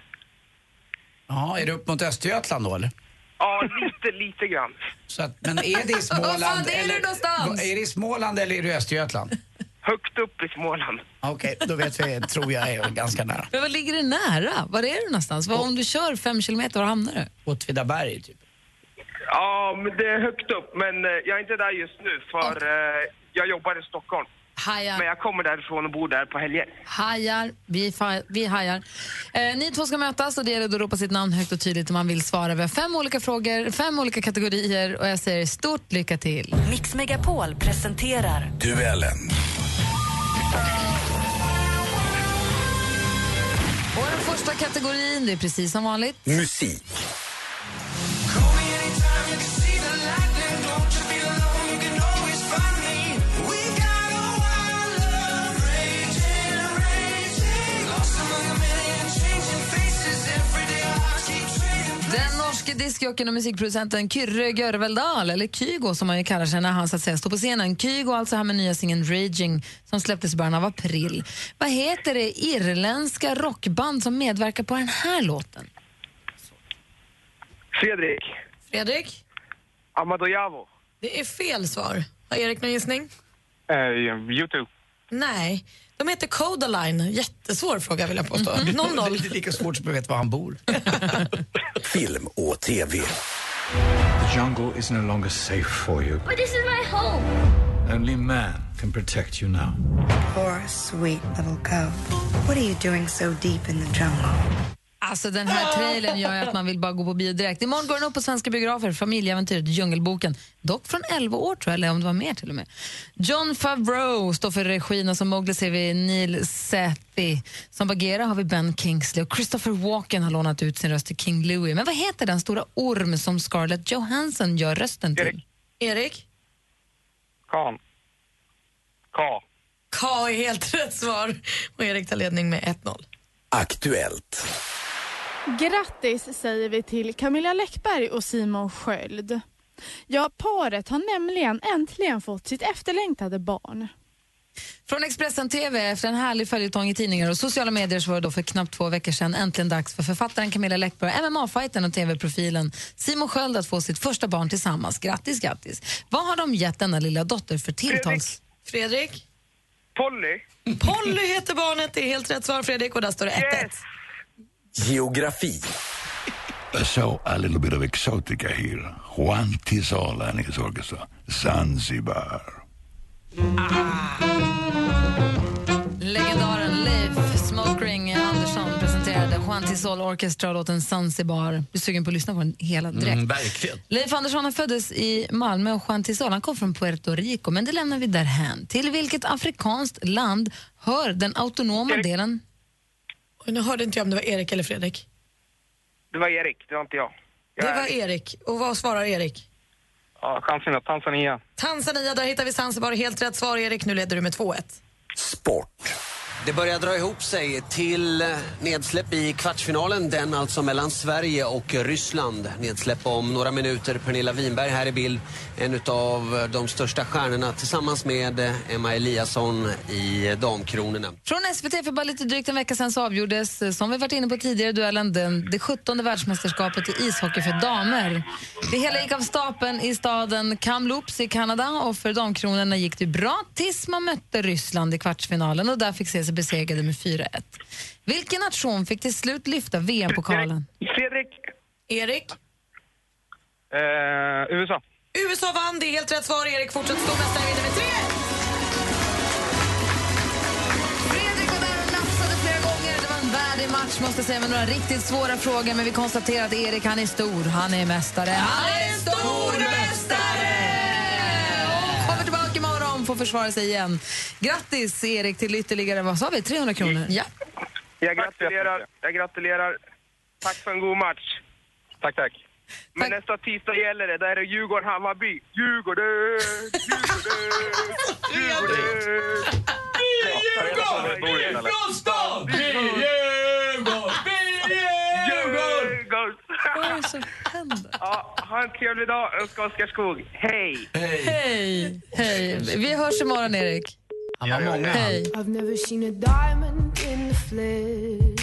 Ja, är det upp mot Östergötland då eller?
Ja, lite, *laughs* lite grann.
Så att,
*laughs*
men är det i
*laughs* Vad
Småland?
fan, det är det någonstans?
Är det i Småland eller är det i Östergötland?
Högt upp i Småland.
Okej, då vet vi, tror jag är ganska nära.
Men vad ligger det nära? Var är du någonstans? Vad, om du kör fem kilometer, var hamnar du?
Åtvidaberg typ.
Ja, men det är högt upp, men eh, jag är inte där just nu för eh, jag jobbar i Stockholm.
Hajar.
Men jag kommer därifrån och bor där på helger.
Hajar. Vi, fa- vi hajar. Eh, ni två ska mötas och det gäller då att ropa sitt namn högt och tydligt om man vill svara. Vi har fem olika frågor, fem olika kategorier och jag säger stort lycka till.
Mix Megapol presenterar
Duellen.
Och den första kategorin, det är precis som vanligt.
Musik.
Den norske diskjocken och musikproducenten Kyrre Görveldal, eller Kygo som han ju kallar sig när han så att säga står på scenen. Kygo alltså här med nya singeln Raging som släpptes i början av april. Vad heter det irländska rockband som medverkar på den här låten?
Fredrik,
Fredrik,
Amadojavo.
det är fel svar. Har Erik någon gissning?
Eh, Youtube.
Nej. De heter Codaline. Jättesvår fråga vill jag påstå. 0-0.
Det är lika svårt som att veta var han bor.
Film och TV.
The jungle is no longer safe for you.
But this is my home!
Only man can protect you now.
Poor sweet little cub. What are you doing so deep in the jungle?
Alltså den här trailern gör ju att man vill bara gå på bio direkt. Imorgon går den upp på svenska biografer, familjeäventyret Djungelboken. Dock från 11 år tror jag, eller om det var mer till och med. John Favreau står för regin och som Mowgli ser vi Neil Sethi. Som Bagheera har vi Ben Kingsley och Christopher Walken har lånat ut sin röst till King Louie. Men vad heter den stora orm som Scarlett Johansson gör rösten till? Erik?
Kan. Ka.
K är helt *laughs* rätt svar. Och Erik tar ledning med 1-0.
Aktuellt.
Grattis säger vi till Camilla Läckberg och Simon Sköld. Ja, paret har nämligen äntligen fått sitt efterlängtade barn.
Från Expressen TV, efter en härlig följetong i tidningar och sociala medier så var det då för knappt två veckor sedan äntligen dags för författaren Camilla Läckberg, mma fighten och tv-profilen Simon Sköld att få sitt första barn tillsammans. Grattis, grattis. Vad har de gett denna lilla dotter för tilltals...
Fredrik?
Polly.
Polly heter barnet. Det är helt rätt svar, Fredrik. Och där står det 1-1.
Geografi.
So a little bit of exotica here. Juan Tizola and his orchestra, Zanzibar.
Legendaren Leif Smoke Ring Andersson presenterade Juan Tisol Orchestra och låten Zanzibar. Du är sugen på att lyssna på den hela direkt.
Mm, verkligen.
Leif Andersson han föddes i Malmö och Juan Tisol han kom från Puerto Rico, men det lämnar vi därhän. Till vilket afrikanskt land hör den autonoma delen...
Och nu hörde inte jag om det var Erik eller Fredrik.
Det var Erik, det var inte jag.
Det var Erik. Och vad svarar Erik?
Ja, chansen är Tanzania.
Tanzania, där hittar vi Zanzibar. Helt rätt svar, Erik. Nu leder du med 2-1.
Det börjar dra ihop sig till nedsläpp i kvartsfinalen. Den alltså mellan Sverige och Ryssland. Nedsläpp om några minuter. Pernilla Winberg här i bild. En av de största stjärnorna tillsammans med Emma Eliasson i Damkronorna.
Från SVT för bara lite drygt en vecka sedan så avgjordes, eh, som vi varit inne på tidigare i duellen, den, det 17 världsmästerskapet i ishockey för damer. Det hela gick av stapeln i staden Kamloops i Kanada och för damkronorna gick det bra tills man mötte Ryssland i kvartsfinalen och där fick se sig besegrade med 4-1. Vilken nation fick till slut lyfta VM-pokalen?
Fredrik.
Erik?
Eh, USA.
USA vann, det är helt rätt svar. Erik fortsätter stå mästare, vinner med 3
Fredrik var där och nafsade match måste jag säga med några riktigt svåra frågor men vi konstaterar att Erik han är stor, han är mästare. Han är stormästare! Och kommer tillbaka imorgon får försvara sig igen. Grattis Erik till ytterligare, vad sa vi, 300 kronor? Ja.
Jag gratulerar. Jag gratulerar. Tack för en god match. Tack, tack. Men nästa tisdag gäller det. Där är det Djurgården-Hammarby. Djurgården!
Bra
Djurgården! Vad är det som händer? Ja, ha en trevlig dag. Önskar Oskar Skog. Hej!
Hej! Hej! Vi hörs imorgon Erik.
Han var många han.
Hej.
I've never seen a diamond in the flesh.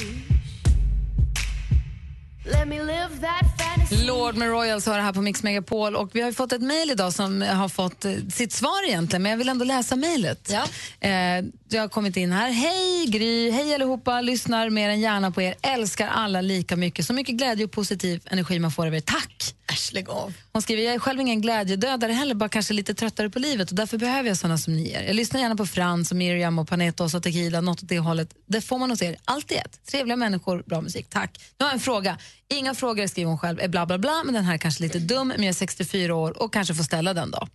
Let me live that fantasy.
Lord med Royals har det här på Mix Megapol och vi har ju fått ett mejl idag som har fått eh, sitt svar egentligen men jag vill ändå läsa mejlet. Ja. Eh, jag har kommit in här. Hej Gry, hej allihopa, lyssnar mer än gärna på er, älskar alla lika mycket. Så mycket glädje och positiv energi man får av er. Tack! Äsch, lägg av. Hon skriver, jag är själv ingen glädjedödare heller, bara kanske lite tröttare på livet och därför behöver jag såna som ni är. Jag lyssnar gärna på Frans och Miriam och Panetos och Tequila, något åt det hållet. Det får man hos er, allt i ett. Trevliga människor, bra musik, tack. Nu har jag en fråga. Inga frågor skriver hon själv, är bla bla bla, men den här är kanske lite dum, men jag är 64 år och kanske får ställa den då.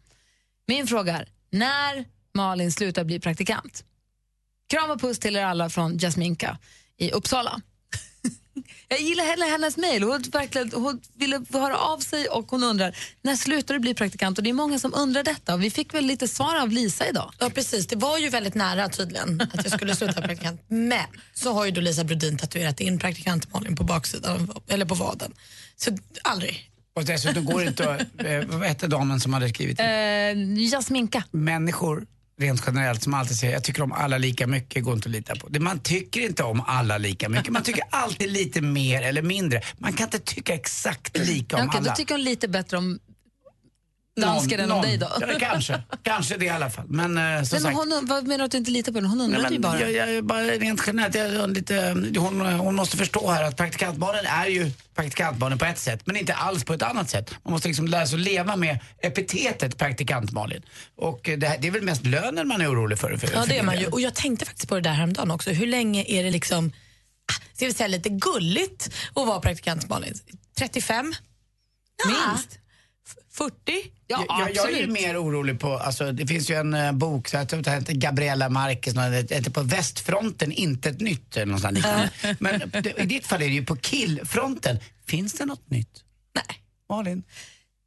Min fråga är, när Malin slutar bli praktikant? Kram och puss till er alla från Jasminka i Uppsala. Jag gillar hela hennes mejl. Hon, verkligen- hon ville höra av sig och hon undrar när slutar du bli praktikant? Och det är många som undrar detta. Och vi fick väl lite svar av Lisa idag.
Ja, precis. Det var ju väldigt nära tydligen att jag skulle sluta praktikant. Men så har ju då Lisa Brodin tatuerat in praktikant Malin på baksidan, av- eller på vaden. Så aldrig.
Och dessutom går det inte att, eh, vad hette damen som hade skrivit?
Eh, Jasminka.
Människor rent generellt som alltid säger jag tycker om alla lika mycket går inte att lita på. Det, man tycker inte om alla lika mycket, man tycker alltid lite mer eller mindre. Man kan inte tycka exakt lika om
Okej,
alla.
då tycker hon lite bättre om
Någon-
dansken än om
någon.
dig då.
Ja,
*laughs*
det kanske. Kanske det i alla fall. Men eh, som
Nej, men
sagt.
hon, vad menar du att du inte litar på henne? Hon
Nej,
undrar ju
men
bara.
jag, jag, är bara rent generellt, jag är lite, eh, hon, hon måste förstå här att praktikantbarnen är ju praktikantbarnen på ett sätt, men inte alls på ett annat sätt. Man måste liksom lära sig att leva med epitetet praktikantbarnen. Och eh, det, här, det är väl mest lönen man är orolig för. för
Ja,
för
det är man
min
ju.
del.
Och jag tänkte faktiskt på det där häromdagen också. Hur länge är det liksom, ah, ska vi säga lite gulligt att vara praktikant Malin? 35? Minst. 40?
Jag- jag, jag är ju mer orolig på, alltså, det finns ju en eh, bok, så jag tror att det heter Gabriella Marquez, någon- det heter På västfronten, inte ett nytt. eller något sånt liknande. Men det, i ditt fall är det ju på killfronten. Finns det något nytt? Malin?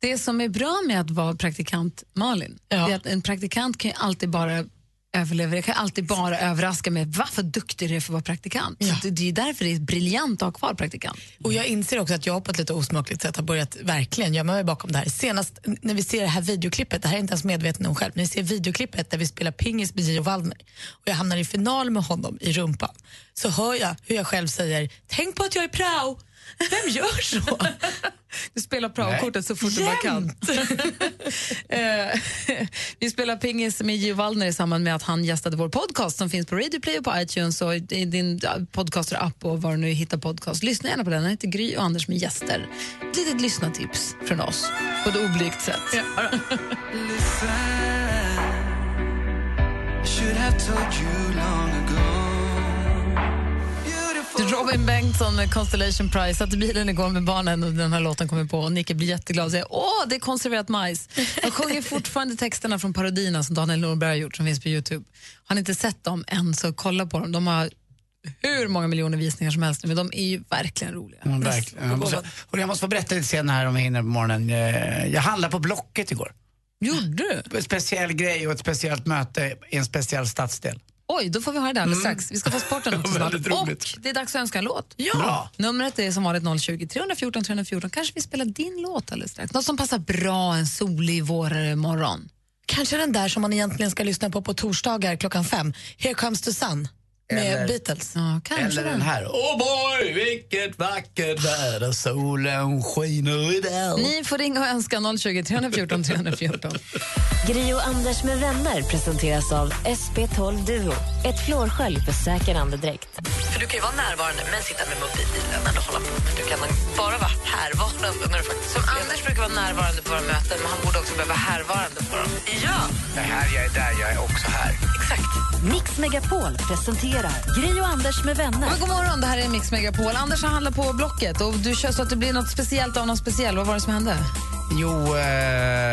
Det som är bra med att vara praktikant Malin, det är att en praktikant kan ju alltid bara överleva, kan ju alltid bara överraska med vad för duktig du är för att vara praktikant. Så det, det är ju därför det är briljant att ha kvar praktikant.
Och jag inser också att jag på ett lite osmakligt sätt har börjat verkligen gömma mig bakom det här. Senast när vi ser det här videoklippet, det här är inte ens medveten om själv, när vi ser videoklippet där vi spelar pingis med Gio Waldner och jag hamnar i final med honom i rumpan, så hör jag hur jag själv säger “tänk på att jag är prao”. Vem gör så?
Du spelar praokortet så fort du bara kan. *laughs* Eh, *laughs* vi spelar pingis med Gio Wallner i samband med att han gästade vår podcast som finns på Radio Play och på iTunes och i din podcaster-app och var du nu hittar podcast. Lyssna gärna på den. Den heter Gry och Anders med gäster. Ett litet lyssnartips från oss på ett oblygt sätt. Robin Bengtsson med Constellation Prize satt i bilen igår med barnen och den här låten kommer på och Nicke blir jätteglad och säger åh, det är konserverat majs. Han sjunger fortfarande texterna från parodierna som Daniel Norberg har gjort som finns på Youtube. Har ni inte sett dem än så kolla på dem. De har hur många miljoner visningar som helst nu, men de är ju verkligen roliga.
Ja, verkligen. Jag, måste, och jag måste få berätta lite senare här om jag hinner på morgonen. Eh, Jag handlade på Blocket igår.
Gjorde
du? En speciell grej och ett speciellt möte i en speciell stadsdel.
Oj, då får vi höra det alldeles
Mm.
strax. Vi ska få sporten också snart.
Väldigt roligt.
Och det är dags att önska en låt.
Bra.
Numret är som vanligt 020 314 314. Kanske vi spelar din låt alldeles strax. Något som passar bra en solig vårare morgon.
Kanske den där som man egentligen ska lyssna på på torsdagar klockan fem, “Here comes the sun” med
Eller-
Beatles.
Ja,
Eller den här. Oh boy, vilket vackert väder. Solen skiner idag.
Ni får ringa och önska 020 314 314.
Gri och Anders med vänner presenteras av SP12 Duo. Ett flårskölj för säker andedräkt.
För du kan ju vara närvarande men sitta med mobilen eller hålla på. Men du kan bara vara härvarande när du faktiskt
Som Anders brukar vara närvarande på våra möten, men han borde också behöva härvarande på dem. Ja!
Det här, jag är där, jag är också här.
Mix Megapol presenterar Gri och Anders med vänner.
Men god morgon, det här är Mix Megapol. Anders har handlat på Blocket och du kör så att det blir något speciellt av någon speciell. Vad var det som hände?
Jo, eh,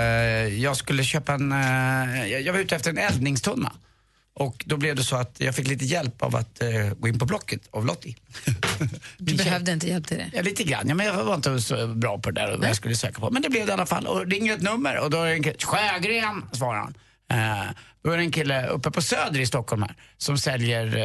jag skulle köpa en... Eh, jag jag var ute efter en eldningstunna. Och då blev det så att jag fick lite hjälp av att eh, gå in på Blocket av Lottie.
Du behövde inte hjälp till det.
Ja, lite grann. Ja, men jag var inte så bra på det där och vad jag skulle söka på. Men det blev det i alla fall. Och ringer ett nummer och då är det en kille, Sjögren, svarar han. Eh, då är det en kille uppe på Söder i Stockholm här som säljer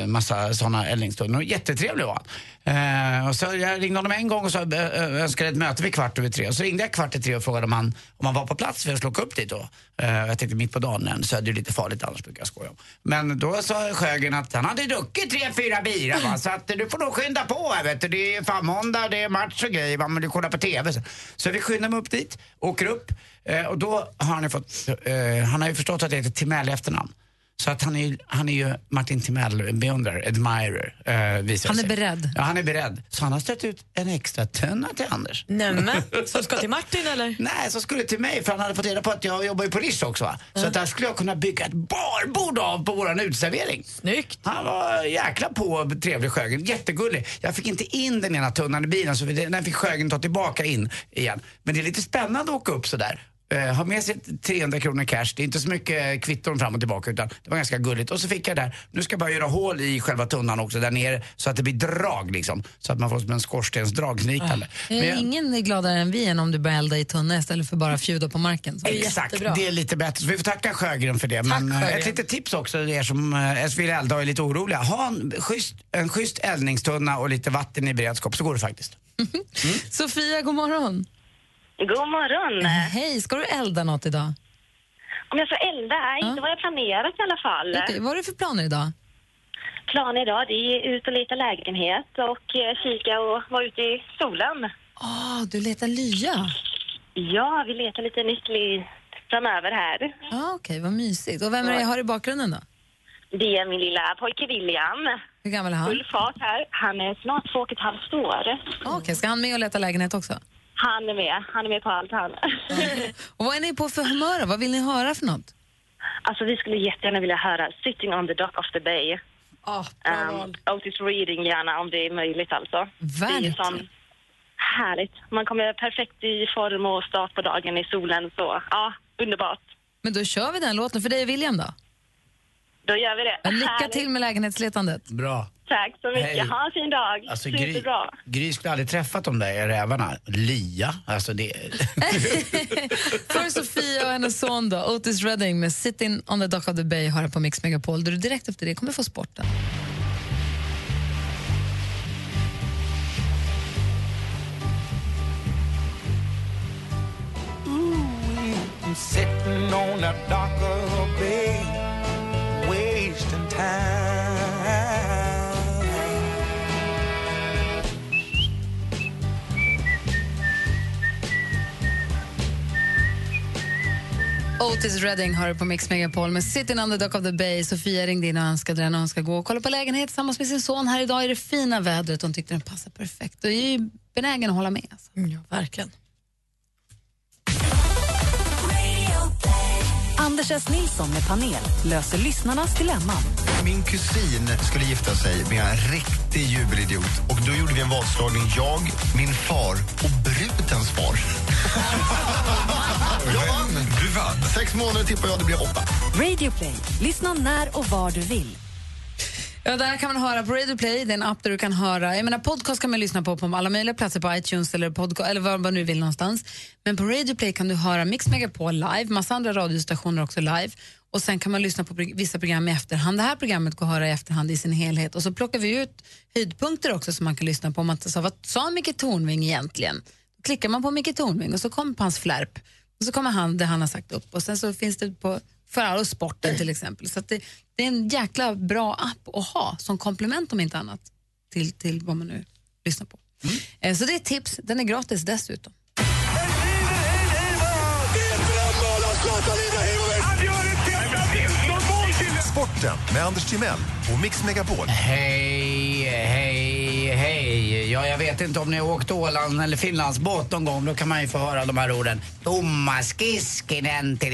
eh, massa sådana eldningstunnor. Och Jättetrevlig var han. Eh, och så jag ringde honom en gång och så eh, önskade ett möte vid kvart över tre. Och så ringde jag kvart i tre och frågade om han, om han var på plats för jag skulle åka upp dit då. Eh, jag tänkte mitt på dagen, Söder är ju lite farligt annars brukar jag skoja om. Men då sa Sjögren att han hade druckit tre, fyra bira va?
Mm.
så att eh, du får nog skynda på här vet du. Det är fan måndag, det är match och grejer va? men du kollar på TV. Så, så vi skyndar mig upp dit, åker upp eh, och då har han ju fått, eh, han har ju förstått att det heter Timell i efternamn. Så att han är, ju- han är ju Martin Timell, beundrare, admirer. Eh, visar
Han är
sig.
beredd.
Ja, han är beredd. Så han har stött ut en extra tunna till Anders.
Nämen,
som ska till Martin eller?
Nej, som skulle till mig för han hade fått reda på att jag jobbar ju på Rish också. Va? Så att där skulle jag kunna bygga ett barbord av på våran utservering.
Snyggt.
Han var jäkla på trevlig Sjögren, jättegullig. Jag fick inte in den ena tunnan i bilen så den fick Sjögren ta tillbaka in igen. Men det är lite spännande att åka upp sådär. Eh, ha med sig 300 kronor cash, det är inte så mycket eh, kvitton fram och tillbaka utan det var ganska gulligt. Och så fick jag där, nu ska jag bara göra hål i själva tunnan också där nere så att det blir drag liksom. Så att man får som en
Eh,
skorstensdragknipande. Men jag-
Eh, Ingen är gladare än vi än om du börjar elda i tunna istället för bara fjuda på marken. Så.
Exakt, det är lite bättre. Så vi får tacka Sjögren för det. Men eh,
Sjögren.
ett litet tips också till er som eh, vill elda och är lite oroliga. Ha en schysst, en schysst eldningstunna och lite vatten i beredskap så går det faktiskt.
Sofia, god morgon.
God morgon.
Hej, ska du elda något idag?
Om jag ska elda? Nej, inte vad jag planerat i alla fall.
Okej, vad har du för planer idag?
Plan idag det är ut och leta lägenhet och eh, kika och vara ute i solen.
Ah, du letar lya.
Ja, vi letar lite nytt liv framöver här.
Ja, ah, okej, vad mysigt. Och vem är det jag har i bakgrunden då?
Mm. Det är min lilla pojke William.
Hur gammal är han?
Full fart här. Han är snart två och ett halvt år.
Ah, Okej, ska han med och leta lägenhet också?
Han är med. Han är med på allt han.
Och vad är ni på för humör då? Vad vill ni höra för något?
Alltså vi skulle jättegärna vilja höra Sitting on the dock of the bay. Ehm,
Oh,
Otis Reading gärna om det är möjligt alltså. Det är ju
Verkligen.
sån härligt. Man kommer perfekt i form och start på dagen i solen så ja, underbart.
Men då kör vi den låten för dig och William då.
Då gör vi det.
Men lycka
Härligt.
till med lägenhetsletandet.
Bra.
Tack så mycket.
Hej.
Ha en fin dag.
Alltså, Gry,
*laughs*
Superbra.
Gry skulle aldrig träffat de där rävarna. Lia, alltså det...
*laughs* För Sofia och hennes son då, Otis Redding med Sitting on the Dock of the Bay har här på Mix Megapol där du direkt efter det kommer få sporten.
Sitting on a dock of a bay, wasting time.
Otis Redding har du på Mix Megapol med Sitting on the Dock of the Bay. Sofia ringde in och önskade den och hon ska gå och kolla på lägenhet tillsammans med sin son här idag i det fina vädret. Hon tyckte den passade perfekt och är ju benägen att hålla med. Alltså.
Ja, verkligen.
Anders S. Nilsson med panel löser lyssnarnas dilemman.
Min kusin skulle gifta sig med en riktig jubelidiot. Och då gjorde vi en vadslagning, jag, min far och brudens *laughs* far. jag vann! Du vann. Sex månader tippar jag, det blev åtta.
Radioplay. Lyssna när och var du vill.
Ja, där kan man höra på Radio Play, det är en app där du kan höra. Jag menar, podcast kan man lyssna på på alla möjliga platser, på iTunes eller, podca- eller var man nu vill någonstans. Men på Radio Play kan du höra Mix Megapol live, massa andra radiostationer också live. Och sen kan man lyssna på prog- vissa program i efterhand. Det här programmet går att höra i efterhand i sin helhet. Och så plockar vi ut höjdpunkter också som man kan lyssna på. Om man inte sa, vad sa Micke Tornving egentligen? Då klickar man på Micke Tornving och så kommer hans flärp. Och så kommer han, det han har sagt upp. Och sen så finns det på för all sporten till exempel. Så att det, det är en jäkla bra app att ha som komplement om inte annat till, till vad man nu lyssnar på.
Mm.
Eh, Så det är ett tips. Den är gratis dessutom.
Sporten med Anders Timell och Mix Megapol.
Hej, hej, hej. Ja, jag vet inte om ni har åkt Åland eller Finlandsbåt någon gång. Då kan man ju få höra de här orden. Thomas Kiskinen till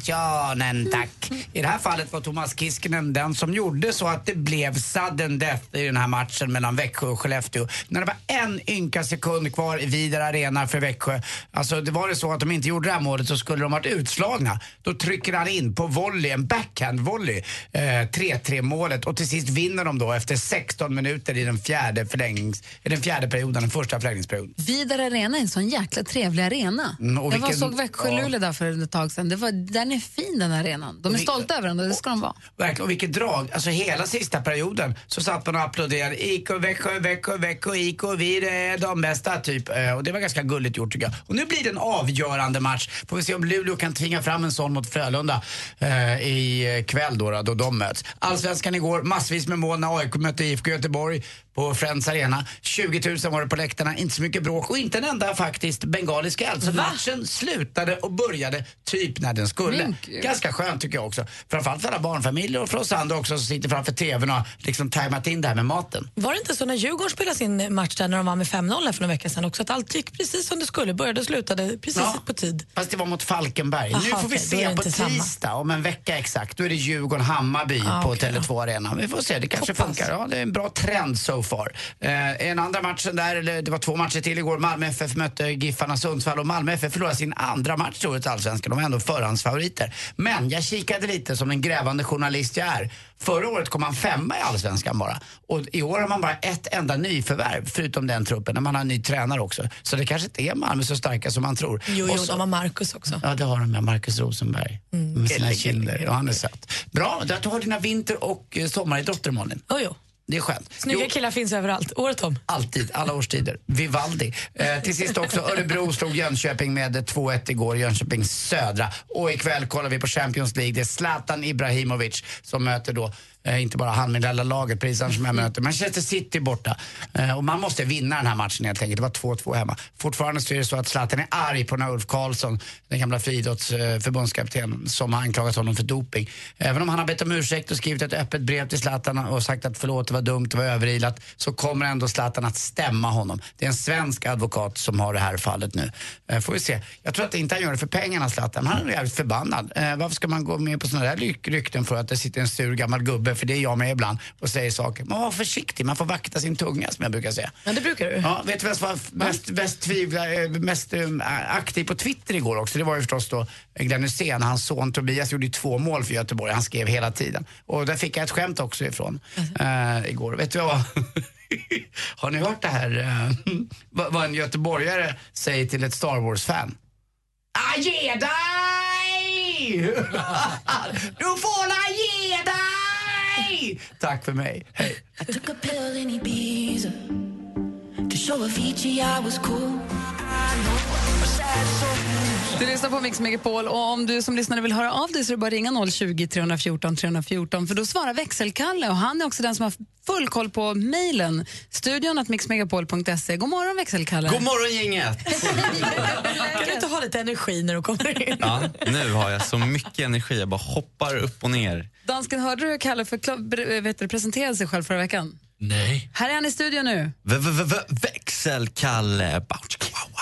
informationen, tack. I det här fallet var Thomas Kiskinen den som gjorde så att det blev sudden death i den här matchen mellan Växjö och Skellefteå. När det var en ynka sekund kvar i Vidar Arena för Växjö. Alltså, det var det så att de inte gjorde det här målet så skulle de varit utslagna. Då trycker han in på volley, en backhand-volley, eh, 3-3 målet och till sist vinner de då efter 16 minuter i den fjärde, förlängnings, i den fjärde perioden, den första förlängningsperioden.
Vidar Arena är en sån jäkla trevlig arena.
Mm, och
jag var
vilken-
såg Växjö-Luleå där för ett tag sedan. Det var, den är fin den arenan. De är
Och vi-
stolta över den och det ska de vara.
Verkligen, och vilket drag. Alltså hela sista perioden så satt man och applåderade. IK Växjö, Växjö, Växjö, IK, vi är de bästa, typ. Eh, Och det var ganska gulligt gjort tycker jag. Och nu blir det en avgörande match. Får vi se om Luleå kan tvinga fram en sån mot Frölunda eh, i kväll då, då, då de möts. Allsvenskan igår, massvis med mål när AIK mötte IFK Göteborg på Friends Arena. 20 000 var det på läktarna, inte så mycket bråk och inte en enda faktiskt bengalisk eld. Så matchen slutade och började typ när den skulle.
Men gud.
Ganska skönt tycker jag också. Framförallt för alla barnfamiljer och för oss andra också som sitter framför TVn och har liksom tajmat in det här med maten.
Var det inte så när Djurgården spelade sin match där när de vann med 5-0 här för några veckor sedan också att allt gick precis som det skulle, började och slutade precis på tid?
Fast det var mot Falkenberg. nu får vi se på tisdag, om en vecka exakt, då är det Djurgården-Hammarby
Ah,
på
okej.
Tele2 Arena. Vi får se, det kanske
Hoppas.
funkar. Ja, det är en bra trend so far. Eh, en andra matchen där, eller det var två matcher till igår. Malmö FF mötte Giffarna Sundsvall och Malmö FF förlorade sin andra match i årets allsvenskan. De var ändå förhandsfavoriter. Men jag kikade lite som en grävande journalist jag är. Förra året kom man femma i allsvenskan bara. Och i år har man bara ett enda nyförvärv, förutom den truppen, när man har en ny tränare också. Så det kanske inte är Malmö så starka som man tror.
Jo,
Och
jo
så-
de har Marcus också.
Ja, det har de med Marcus Rosenberg. Med sina
Mm. Gullig,
kinder. Ja, han är söt. Bra, där du har dina vinter och eh, sommaridrotter, Malin.
Oh, jo.
Det är skönt.
Snygga
Jo,
killar finns överallt, året om.
Alltid, alla årstider.
*laughs*
Vivaldi. Eh, till sist också, Örebro slog Jönköping med 2-1 igår, Jönköping södra. Och ikväll kollar vi på Champions League. Det är Zlatan Ibrahimovic som möter då, eh, inte bara han, men hela laget, precis som
Mm.
jag möter Manchester City borta. Eh, och man måste vinna den här matchen helt enkelt. Det var 2-2 hemma. Fortfarande så är det så att Zlatan är arg på när Ulf Karlsson, den gamla friidrottsförbundskaptenen, som har anklagat honom för doping. Även om han har bett om ursäkt och skrivit ett öppet brev till Zlatan och sagt att förlåt, det var dumt, det var överilat, så kommer ändå Zlatan att stämma honom. Det är en svensk advokat som har det här fallet nu. Eh, Får vi se. Jag tror att inte han gör det för pengarna, Zlatan. men Han är nog jävligt förbannad. Eh, Varför ska man gå med på sådana där ry- rykten för att det sitter en sur gammal gubbe, för det är jag med ibland, och säger saker. Man var försiktig, man får vakta sin tunga som jag brukar säga.
Ja, det brukar du.
Ja, vet du vem som var mest, mest, tvivla, eh, mest eh, aktiv på Twitter igår också? Det var ju förstås då Glenn Hysén. Hans son Tobias gjorde ju två mål för Göteborg. Han skrev hela tiden. Och där fick jag ett skämt också ifrån eh, igår. Vet du vad? *laughs* Har ni hört det här? eh, *laughs* vad, vad en göteborgare säger till ett Star Wars-fan? Ah,
*laughs*
ge dig! du får la ge dig! Tack för mig. Hej.
I took a pill in Ibiza to show
*laughs*
Avicii I was cool.
Du lyssnar på Mix Megapol och om du som lyssnare vill höra av dig så är det bara att ringa 020 314 314 för då svarar växelkalle och han är också den som har full koll på mejlen. Studion att mixmegapol.se. God morgon växelkalle.
God morgon gänget!
Kan du inte ha lite energi när du
*laughs*
kommer in?
Ja, nu har jag så mycket energi, jag bara hoppar upp och ner.
Dansken, hörde du hur Kalle förkla- ber- eh, vet du, presenterade sig själv förra veckan?
Nej.
Här är han i studion nu.
Växelkalle. Bouch, wow, wow.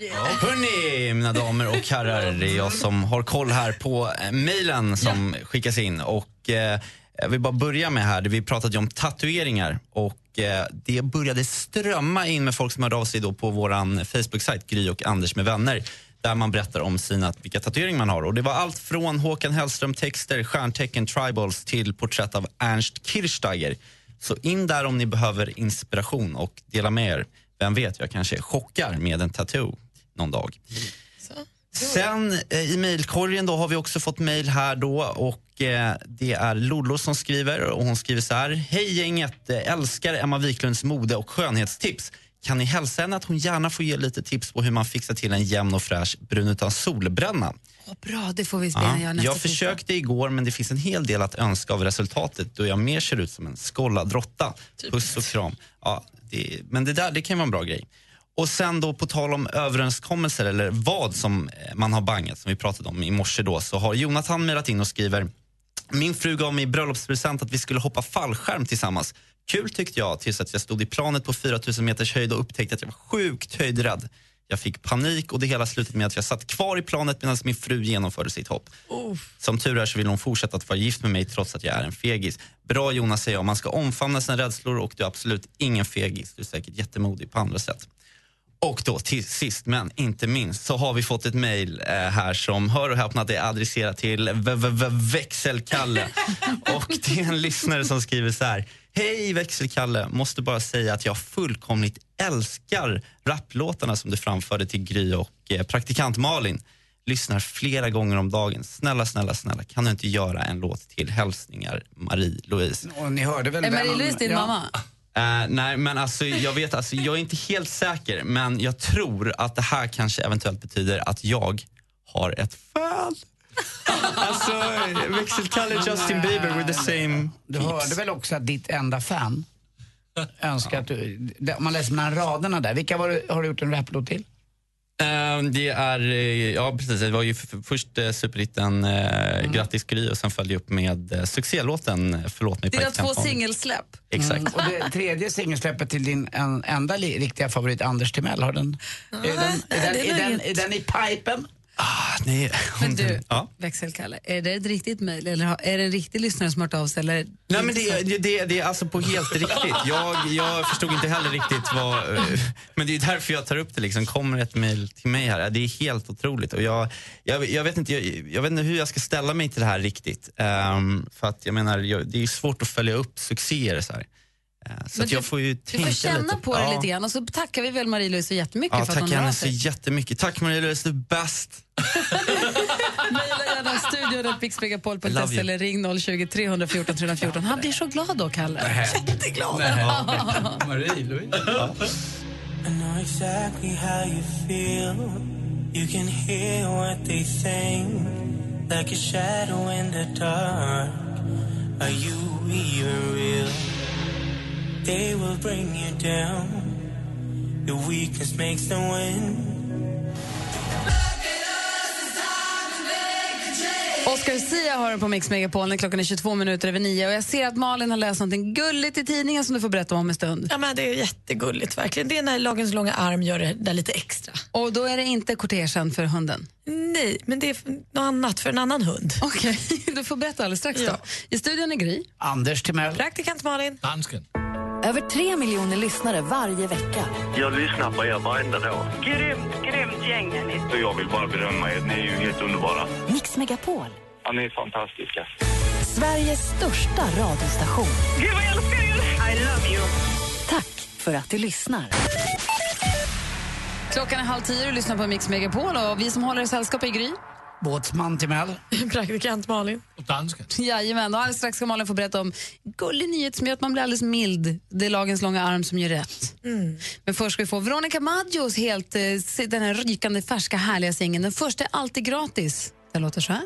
Yeah. Hörni, mina damer och herrar, det är jag som har koll här på eh, mejlen som skickas in. Och eh, jag vill bara börja med här, vi pratade ju om tatueringar och eh, det började strömma in med folk som hörde av sig då på våran Facebook-sajt Gry och Anders med vänner där man berättar om sina, vilka tatueringar man har. Och Det var allt från Håkan Hellström-texter, stjärntecken, tribals till porträtt av Ernst Kirchsteiger. Så in där om ni behöver inspiration och dela med er. Vem vet, jag kanske chockar med en tattoo någon dag. Sen eh, i mejlkorgen då har vi också fått mejl här då och eh, det är Lollo som skriver och hon skriver så här. Hej gänget, eh, älskar Emma Wiklunds mode och skönhetstips. Kan ni hälsa henne att hon gärna får ge lite tips på hur man fixar till en jämn och fräsch brun utan solbränna?
Vad bra, det får vi
Ja,
spela göra nästa
jag försökte igår men det finns en hel del att önska av resultatet då jag mer ser ut som en skållad råtta. Puss och kram. Ja, det, men det där det kan ju vara en bra grej. Och sen då på tal om överenskommelser eller vad som eh, man har bangat som vi pratade om i morse då så har Jonathan mejlat in och skriver min fru gav mig i bröllopspresent att vi skulle hoppa fallskärm tillsammans. Kul tyckte jag tills att jag stod i planet på 4000 meters höjd och upptäckte att jag var sjukt höjdrädd. Jag fick panik och det hela slutade med att jag satt kvar i planet medan min fru genomförde sitt hopp. Som tur är så vill hon fortsätta att vara gift med mig trots att jag är en fegis. Bra Jonas säger jag, man ska omfamna sina rädslor och du är absolut ingen fegis. Du är säkert jättemodig på andra sätt. Och då till sist men inte minst så har vi fått ett mejl eh, här som hör och häpna det är adresserat till v- v- v- växelkalle. och det är en lyssnare som skriver så här. Hej växelkalle, måste bara säga att jag fullkomligt älskar rapplåtarna som du framförde till Gry och eh, praktikant Malin. Lyssnar flera gånger om dagen. Snälla, snälla, snälla kan du inte göra en låt till? Hälsningar Marie-Louise.
Och ni hörde väl
Är
vem-
Marie-Louise din
ja.
mamma?
Eh, nej, men alltså, jag vet, alltså, jag är inte helt säker, men jag tror att det här kanske eventuellt betyder att jag har ett fan. alltså, växelkalle Justin Bieber with the same
Du hörde väl också att ditt enda fan önskar att du... det- Om man läser mellan raderna där, vilka var det, har du gjort en raplåt till?
Eh, det är, eh, ja precis, det var ju f- f- först eh, superhitten eh,
Mm.
Grattis Gry och sen följde jag upp med eh, succélåten eh, Förlåt mig
Dina
praktikant
två
Malin.
singelsläpp.
Exakt.
Mm. Och det tredje singelsläppet till din en, enda li, riktiga favorit Anders Timell, har den... Är den, är den,
det är
är den,
inget.
är den i pipen?
Ah, nej.
Men du,
Ja.
växelkalle, är det ett riktigt mejl eller har- är det en riktig lyssnare som har hört av sig? Eller?
Nej men det, det, det, det är alltså
*laughs*
på helt riktigt. Jag, jag förstod inte heller riktigt vad... eh, Men det är ju därför jag tar upp det. Liksom. Kommer ett mejl till mig här? Det är helt otroligt. Och jag, jag, jag, vet inte, jag, jag vet inte hur jag ska ställa mig till det här riktigt. Ehm, för att jag menar, jag, det är ju svårt att följa upp succéer så här. Eh, så
Men
att jag får ju
Du
tänka
får känna
lite.
på det
Ja.
lite grann och så tackar vi väl Marie-Louise så jättemycket
Ja,
för att
tack
hon hör av
henne så *laughs*
sig.
jättemycket. Tack Marie-Louise, du är bäst.
Mejla gärna
Love
studion.mixmegapol.se
you.
eller ring 020 314 314. Han blir så glad då, Kalle.
Nej.
Jätteglad.
Nej.
Marie-Louise.
I know exactly how you feel. You can hear what they think, like a shadow in the dark. Are you even real? They will bring you down. Your weakness makes them win.
Oscar Sia har den på Mix Megapol när klockan är 22 minuter över 9 och jag ser att Malin har läst någonting gulligt i tidningen som du får berätta om en stund.
Ja, men det är jättegulligt verkligen. Det är när lagens långa arm gör det där lite extra.
Och då är det inte kortegen för hunden?
Nej, men det är f- något annat för en annan hund.
Okej, *laughs* du får berätta alldeles strax då. I studion är Gry.
Anders Timell.
Praktikant Malin.
Dansken.
Över tre miljoner lyssnare varje vecka.
Jag lyssnar på er varenda dag.
Grymt, grymt gäng
Och jag vill bara berömma er. Ni är ju helt underbara.
Mix Megapol,
Ja, ni är fantastiska.
Sveriges största radiostation.
Gud, vad jag älskar er! I love you.
Tack för att du lyssnar.
Klockan är halv tio och du lyssnar på Mix Megapol och vi som håller i sällskap är Gry.
Båtsman Timell.
*laughs* Praktikant Malin.
Och dansken.
Jajamän, och alldeles strax ska Malin få berätta om gullig nyhet som gör att man blir alldeles mild. Det är lagens långa arm som gör rätt.
Mm.
Men först ska vi få Veronica Maggios helt, eh, se- den här rykande, färska, härliga singeln. Den första är alltid gratis. Den låter så här.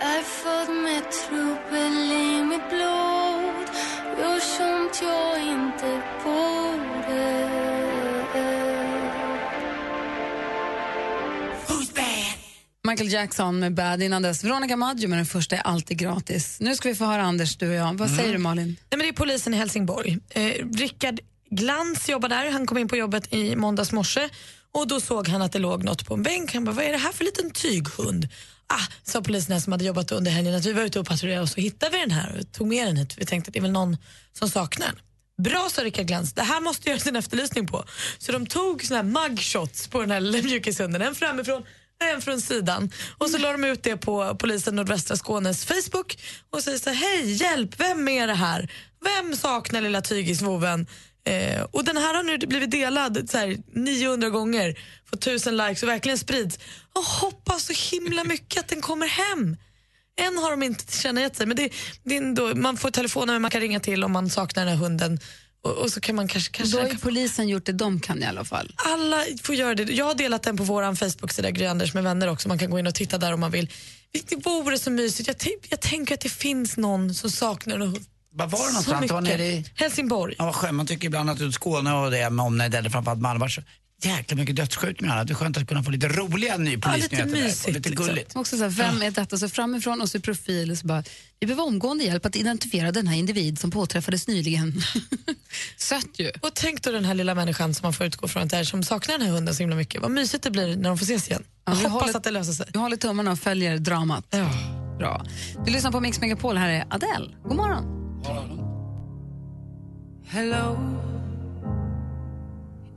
Är född med trubbel i mitt blod Gör sånt jag inte borde
Michael Jackson med Bad innan dess. Veronica Maggio med den första är alltid gratis. Nu ska vi få höra Anders, du och jag. Vad
Mm.
säger du Malin?
Nej, men det är polisen i Helsingborg. Eh, Rickard Glans jobbar där. Han kom in på jobbet i måndags morse och då såg han att det låg något på en bänk. Han bara, vad är det här för liten tyghund? Ah, sa polisen här som hade jobbat under helgen att vi var ute och patrullerade och så hittade vi den här och tog med den hit. Vi tänkte att det är väl någon som saknar den. Bra, sa Rickard Glans. Det här måste göras en efterlysning på. Så de tog såna här mugshots på den här lilla mjukishunden. En framifrån, en från sidan. Och så la de ut det på polisen nordvästra Skånes Facebook och säger så här, hej, hjälp, vem är det här? Vem saknar lilla tygisvoven? Eh, och den här har nu blivit delad så här, 900 gånger, fått 1000 likes och verkligen sprids. Och hoppas så himla mycket att den kommer hem. Än har de inte tillkännagett sig, men det, det är ändå, man får telefoner man kan ringa till om man saknar den här hunden. Och, och så kan man kanske, kanske
Då har ju polisen gjort det de kan i alla fall.
alla får göra det. Jag har delat den på vår Facebook-sida, Gry Anders med vänner också. Man kan gå in och titta där om man vill. Det vore så mysigt. Jag, tänk- jag tänker att det finns någon som saknar en hund.
Vad var det
Så
någonstans? Det var
mycket.
nere i...
Helsingborg.
Ja, vad skönt. Man tycker ibland att ut Skåne och det med omnejd eller framförallt Malmö var så jäkla mycket dödsskjutningar. Det är skönt att kunna få lite roliga nypolisnyheter
lite
där.
mysigt, liksom.
Och lite gulligt.
Också så här, vem är detta? Så framifrån och så i profil. Och så bara, vi behöver omgående hjälp att identifiera den här individ som påträffades nyligen. *laughs* Sött ju.
Och tänk då den här lilla människan som man får utgå från att det är som saknar den här hunden så himla mycket. Vad mysigt det blir när de får ses igen.
Ja,
Jag
vi
hoppas
håller-
att det löser sig.
Vi håller tummarna och följer dramat. Bra. Du lyssnar på Mix Megapol. Här är Adele. God morgon.
Hello,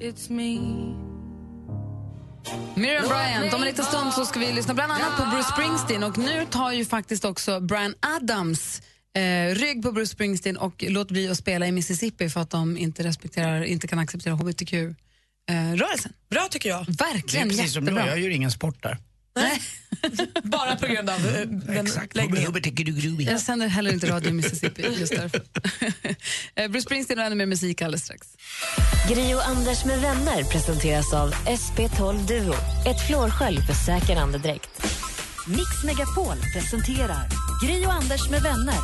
it's me.
Miriam Bryant. Om en liten stund så ska vi lyssna bland annat på Bruce Springsteen. Och nu tar ju faktiskt också Brian Adams eh, rygg på Bruce Springsteen och låt bli att spela i Mississippi för att de inte, respekterar, inte kan acceptera hbtq-rörelsen.
Bra tycker jag.
Det är
eh, Verkligen
precis som du.
jättebra.
Jag gör ingen sport där.
*laughs* Bara på grund av eh, den läggningen.
Jag sänder heller inte radio i Mississippi *laughs* just därför. Eh, Bruce Springsteen och ännu mer musik alldeles strax.
Gri och Anders med vänner presenteras av SP12 Duo. Ett flårskölj för säker andedräkt. Mix Megapol presenterar Gri och Anders med vänner.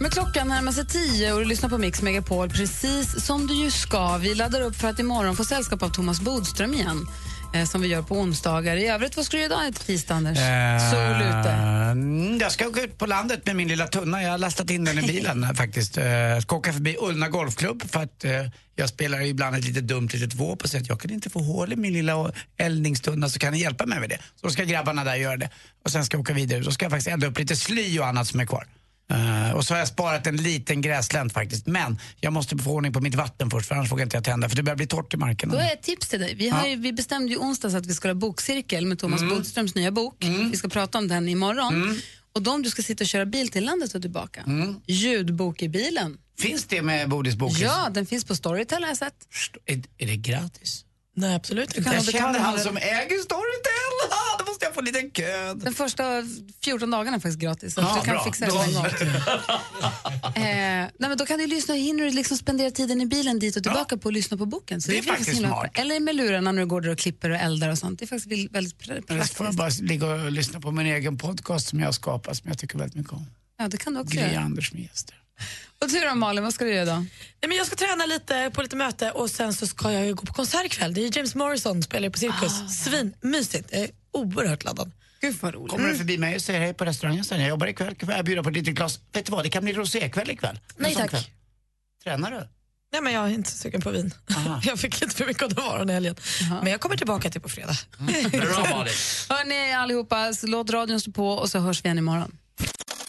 Men klockan närmar sig tio och du lyssnar på Mix Megapol precis som du ju ska. Vi laddar upp för att imorgon få sällskap av Thomas Bodström igen eh, som vi gör på onsdagar. I övrigt, vad ska du göra idag till tisdag, Anders?
Eh,
Solute.
Mm, Jag ska åka ut på landet med min lilla tunna. Jag har lastat in den i bilen här, faktiskt. Eh, Jag ska åka förbi Ullna Golfklubb för att eh, jag spelar ju ibland ett lite dumt litet våp och säger att jag kan inte få hål i min lilla eldningstunna så kan ni hjälpa mig med det? Så då ska grabbarna där göra det. Och sen ska jag åka vidare. Då ska jag faktiskt elda upp lite sly och annat som är kvar. Eh, och så har jag sparat en liten gräslänt faktiskt. Men jag måste få ordning på mitt vatten först för annars vågar inte jag tända för det börjar bli torrt i marken.
Då är ett tips till dig. Vi, har
Ja. Mm.
ju, vi bestämde ju onsdags att vi skulle ha bokcirkel med Thomas Bodströms nya bok. Vi ska prata om den imorgon. Och då om du ska sitta och köra bil till landet och tillbaka, ljudbok i bilen.
Mm. Finns det med Bodis bok?
Ja, den finns på Storytel har jag sett.
Är, är det gratis?
Nej, absolut
kan
Jag
man betala
känner han
hundra-
som äger Storytel. *laughs* Ah, Då måste jag få en liten köd.
Den första 14 dagarna är faktiskt gratis. Så
Ja,
du kan
bra.
fixa det
Då-
någon gång. eh, nej, men då kan du lyssna, hinner du liksom spendera tiden i bilen dit och tillbaka på att lyssna på boken. Så
Det är
blir
faktiskt
himla-
smart.
Eller med lurarna när du går där och klipper och eldar och sånt. Det är faktiskt vill- väldigt pr-
Eller så får jag
praktiskt.
bara ligga och lyssna på min egen podcast som jag har skapat som jag tycker väldigt mycket om.
Ja, det kan du också
Gry
göra.
Anders med gäster.
Och du då Malin, vad ska du göra idag?
Nej, men jag ska träna lite på lite möte och sen så ska jag ju gå på konsert ikväll. Det är ju James Morrison som spelar på Cirkus.
Ah.
Svin, mysigt. Jag är oerhört laddad.
Gud vad roligt. Mm.
Kommer du förbi mig och säger hej på restaurangen sen? Jag jobbar ikväll, kan jag bjuda på ett litet glas? Vet du vad, det kan bli rosékväll ikväll. En
Nej,
sån
tack.
kväll. Tränar du?
Nej, men jag är inte så sugen på vin. *laughs* Jag fick lite för mycket av det varan i helgen. Men jag kommer tillbaka till på fredag.
Mm. Bra Malin.
Hörni allihopa, så låt radion stå på och så hörs vi igen imorgon.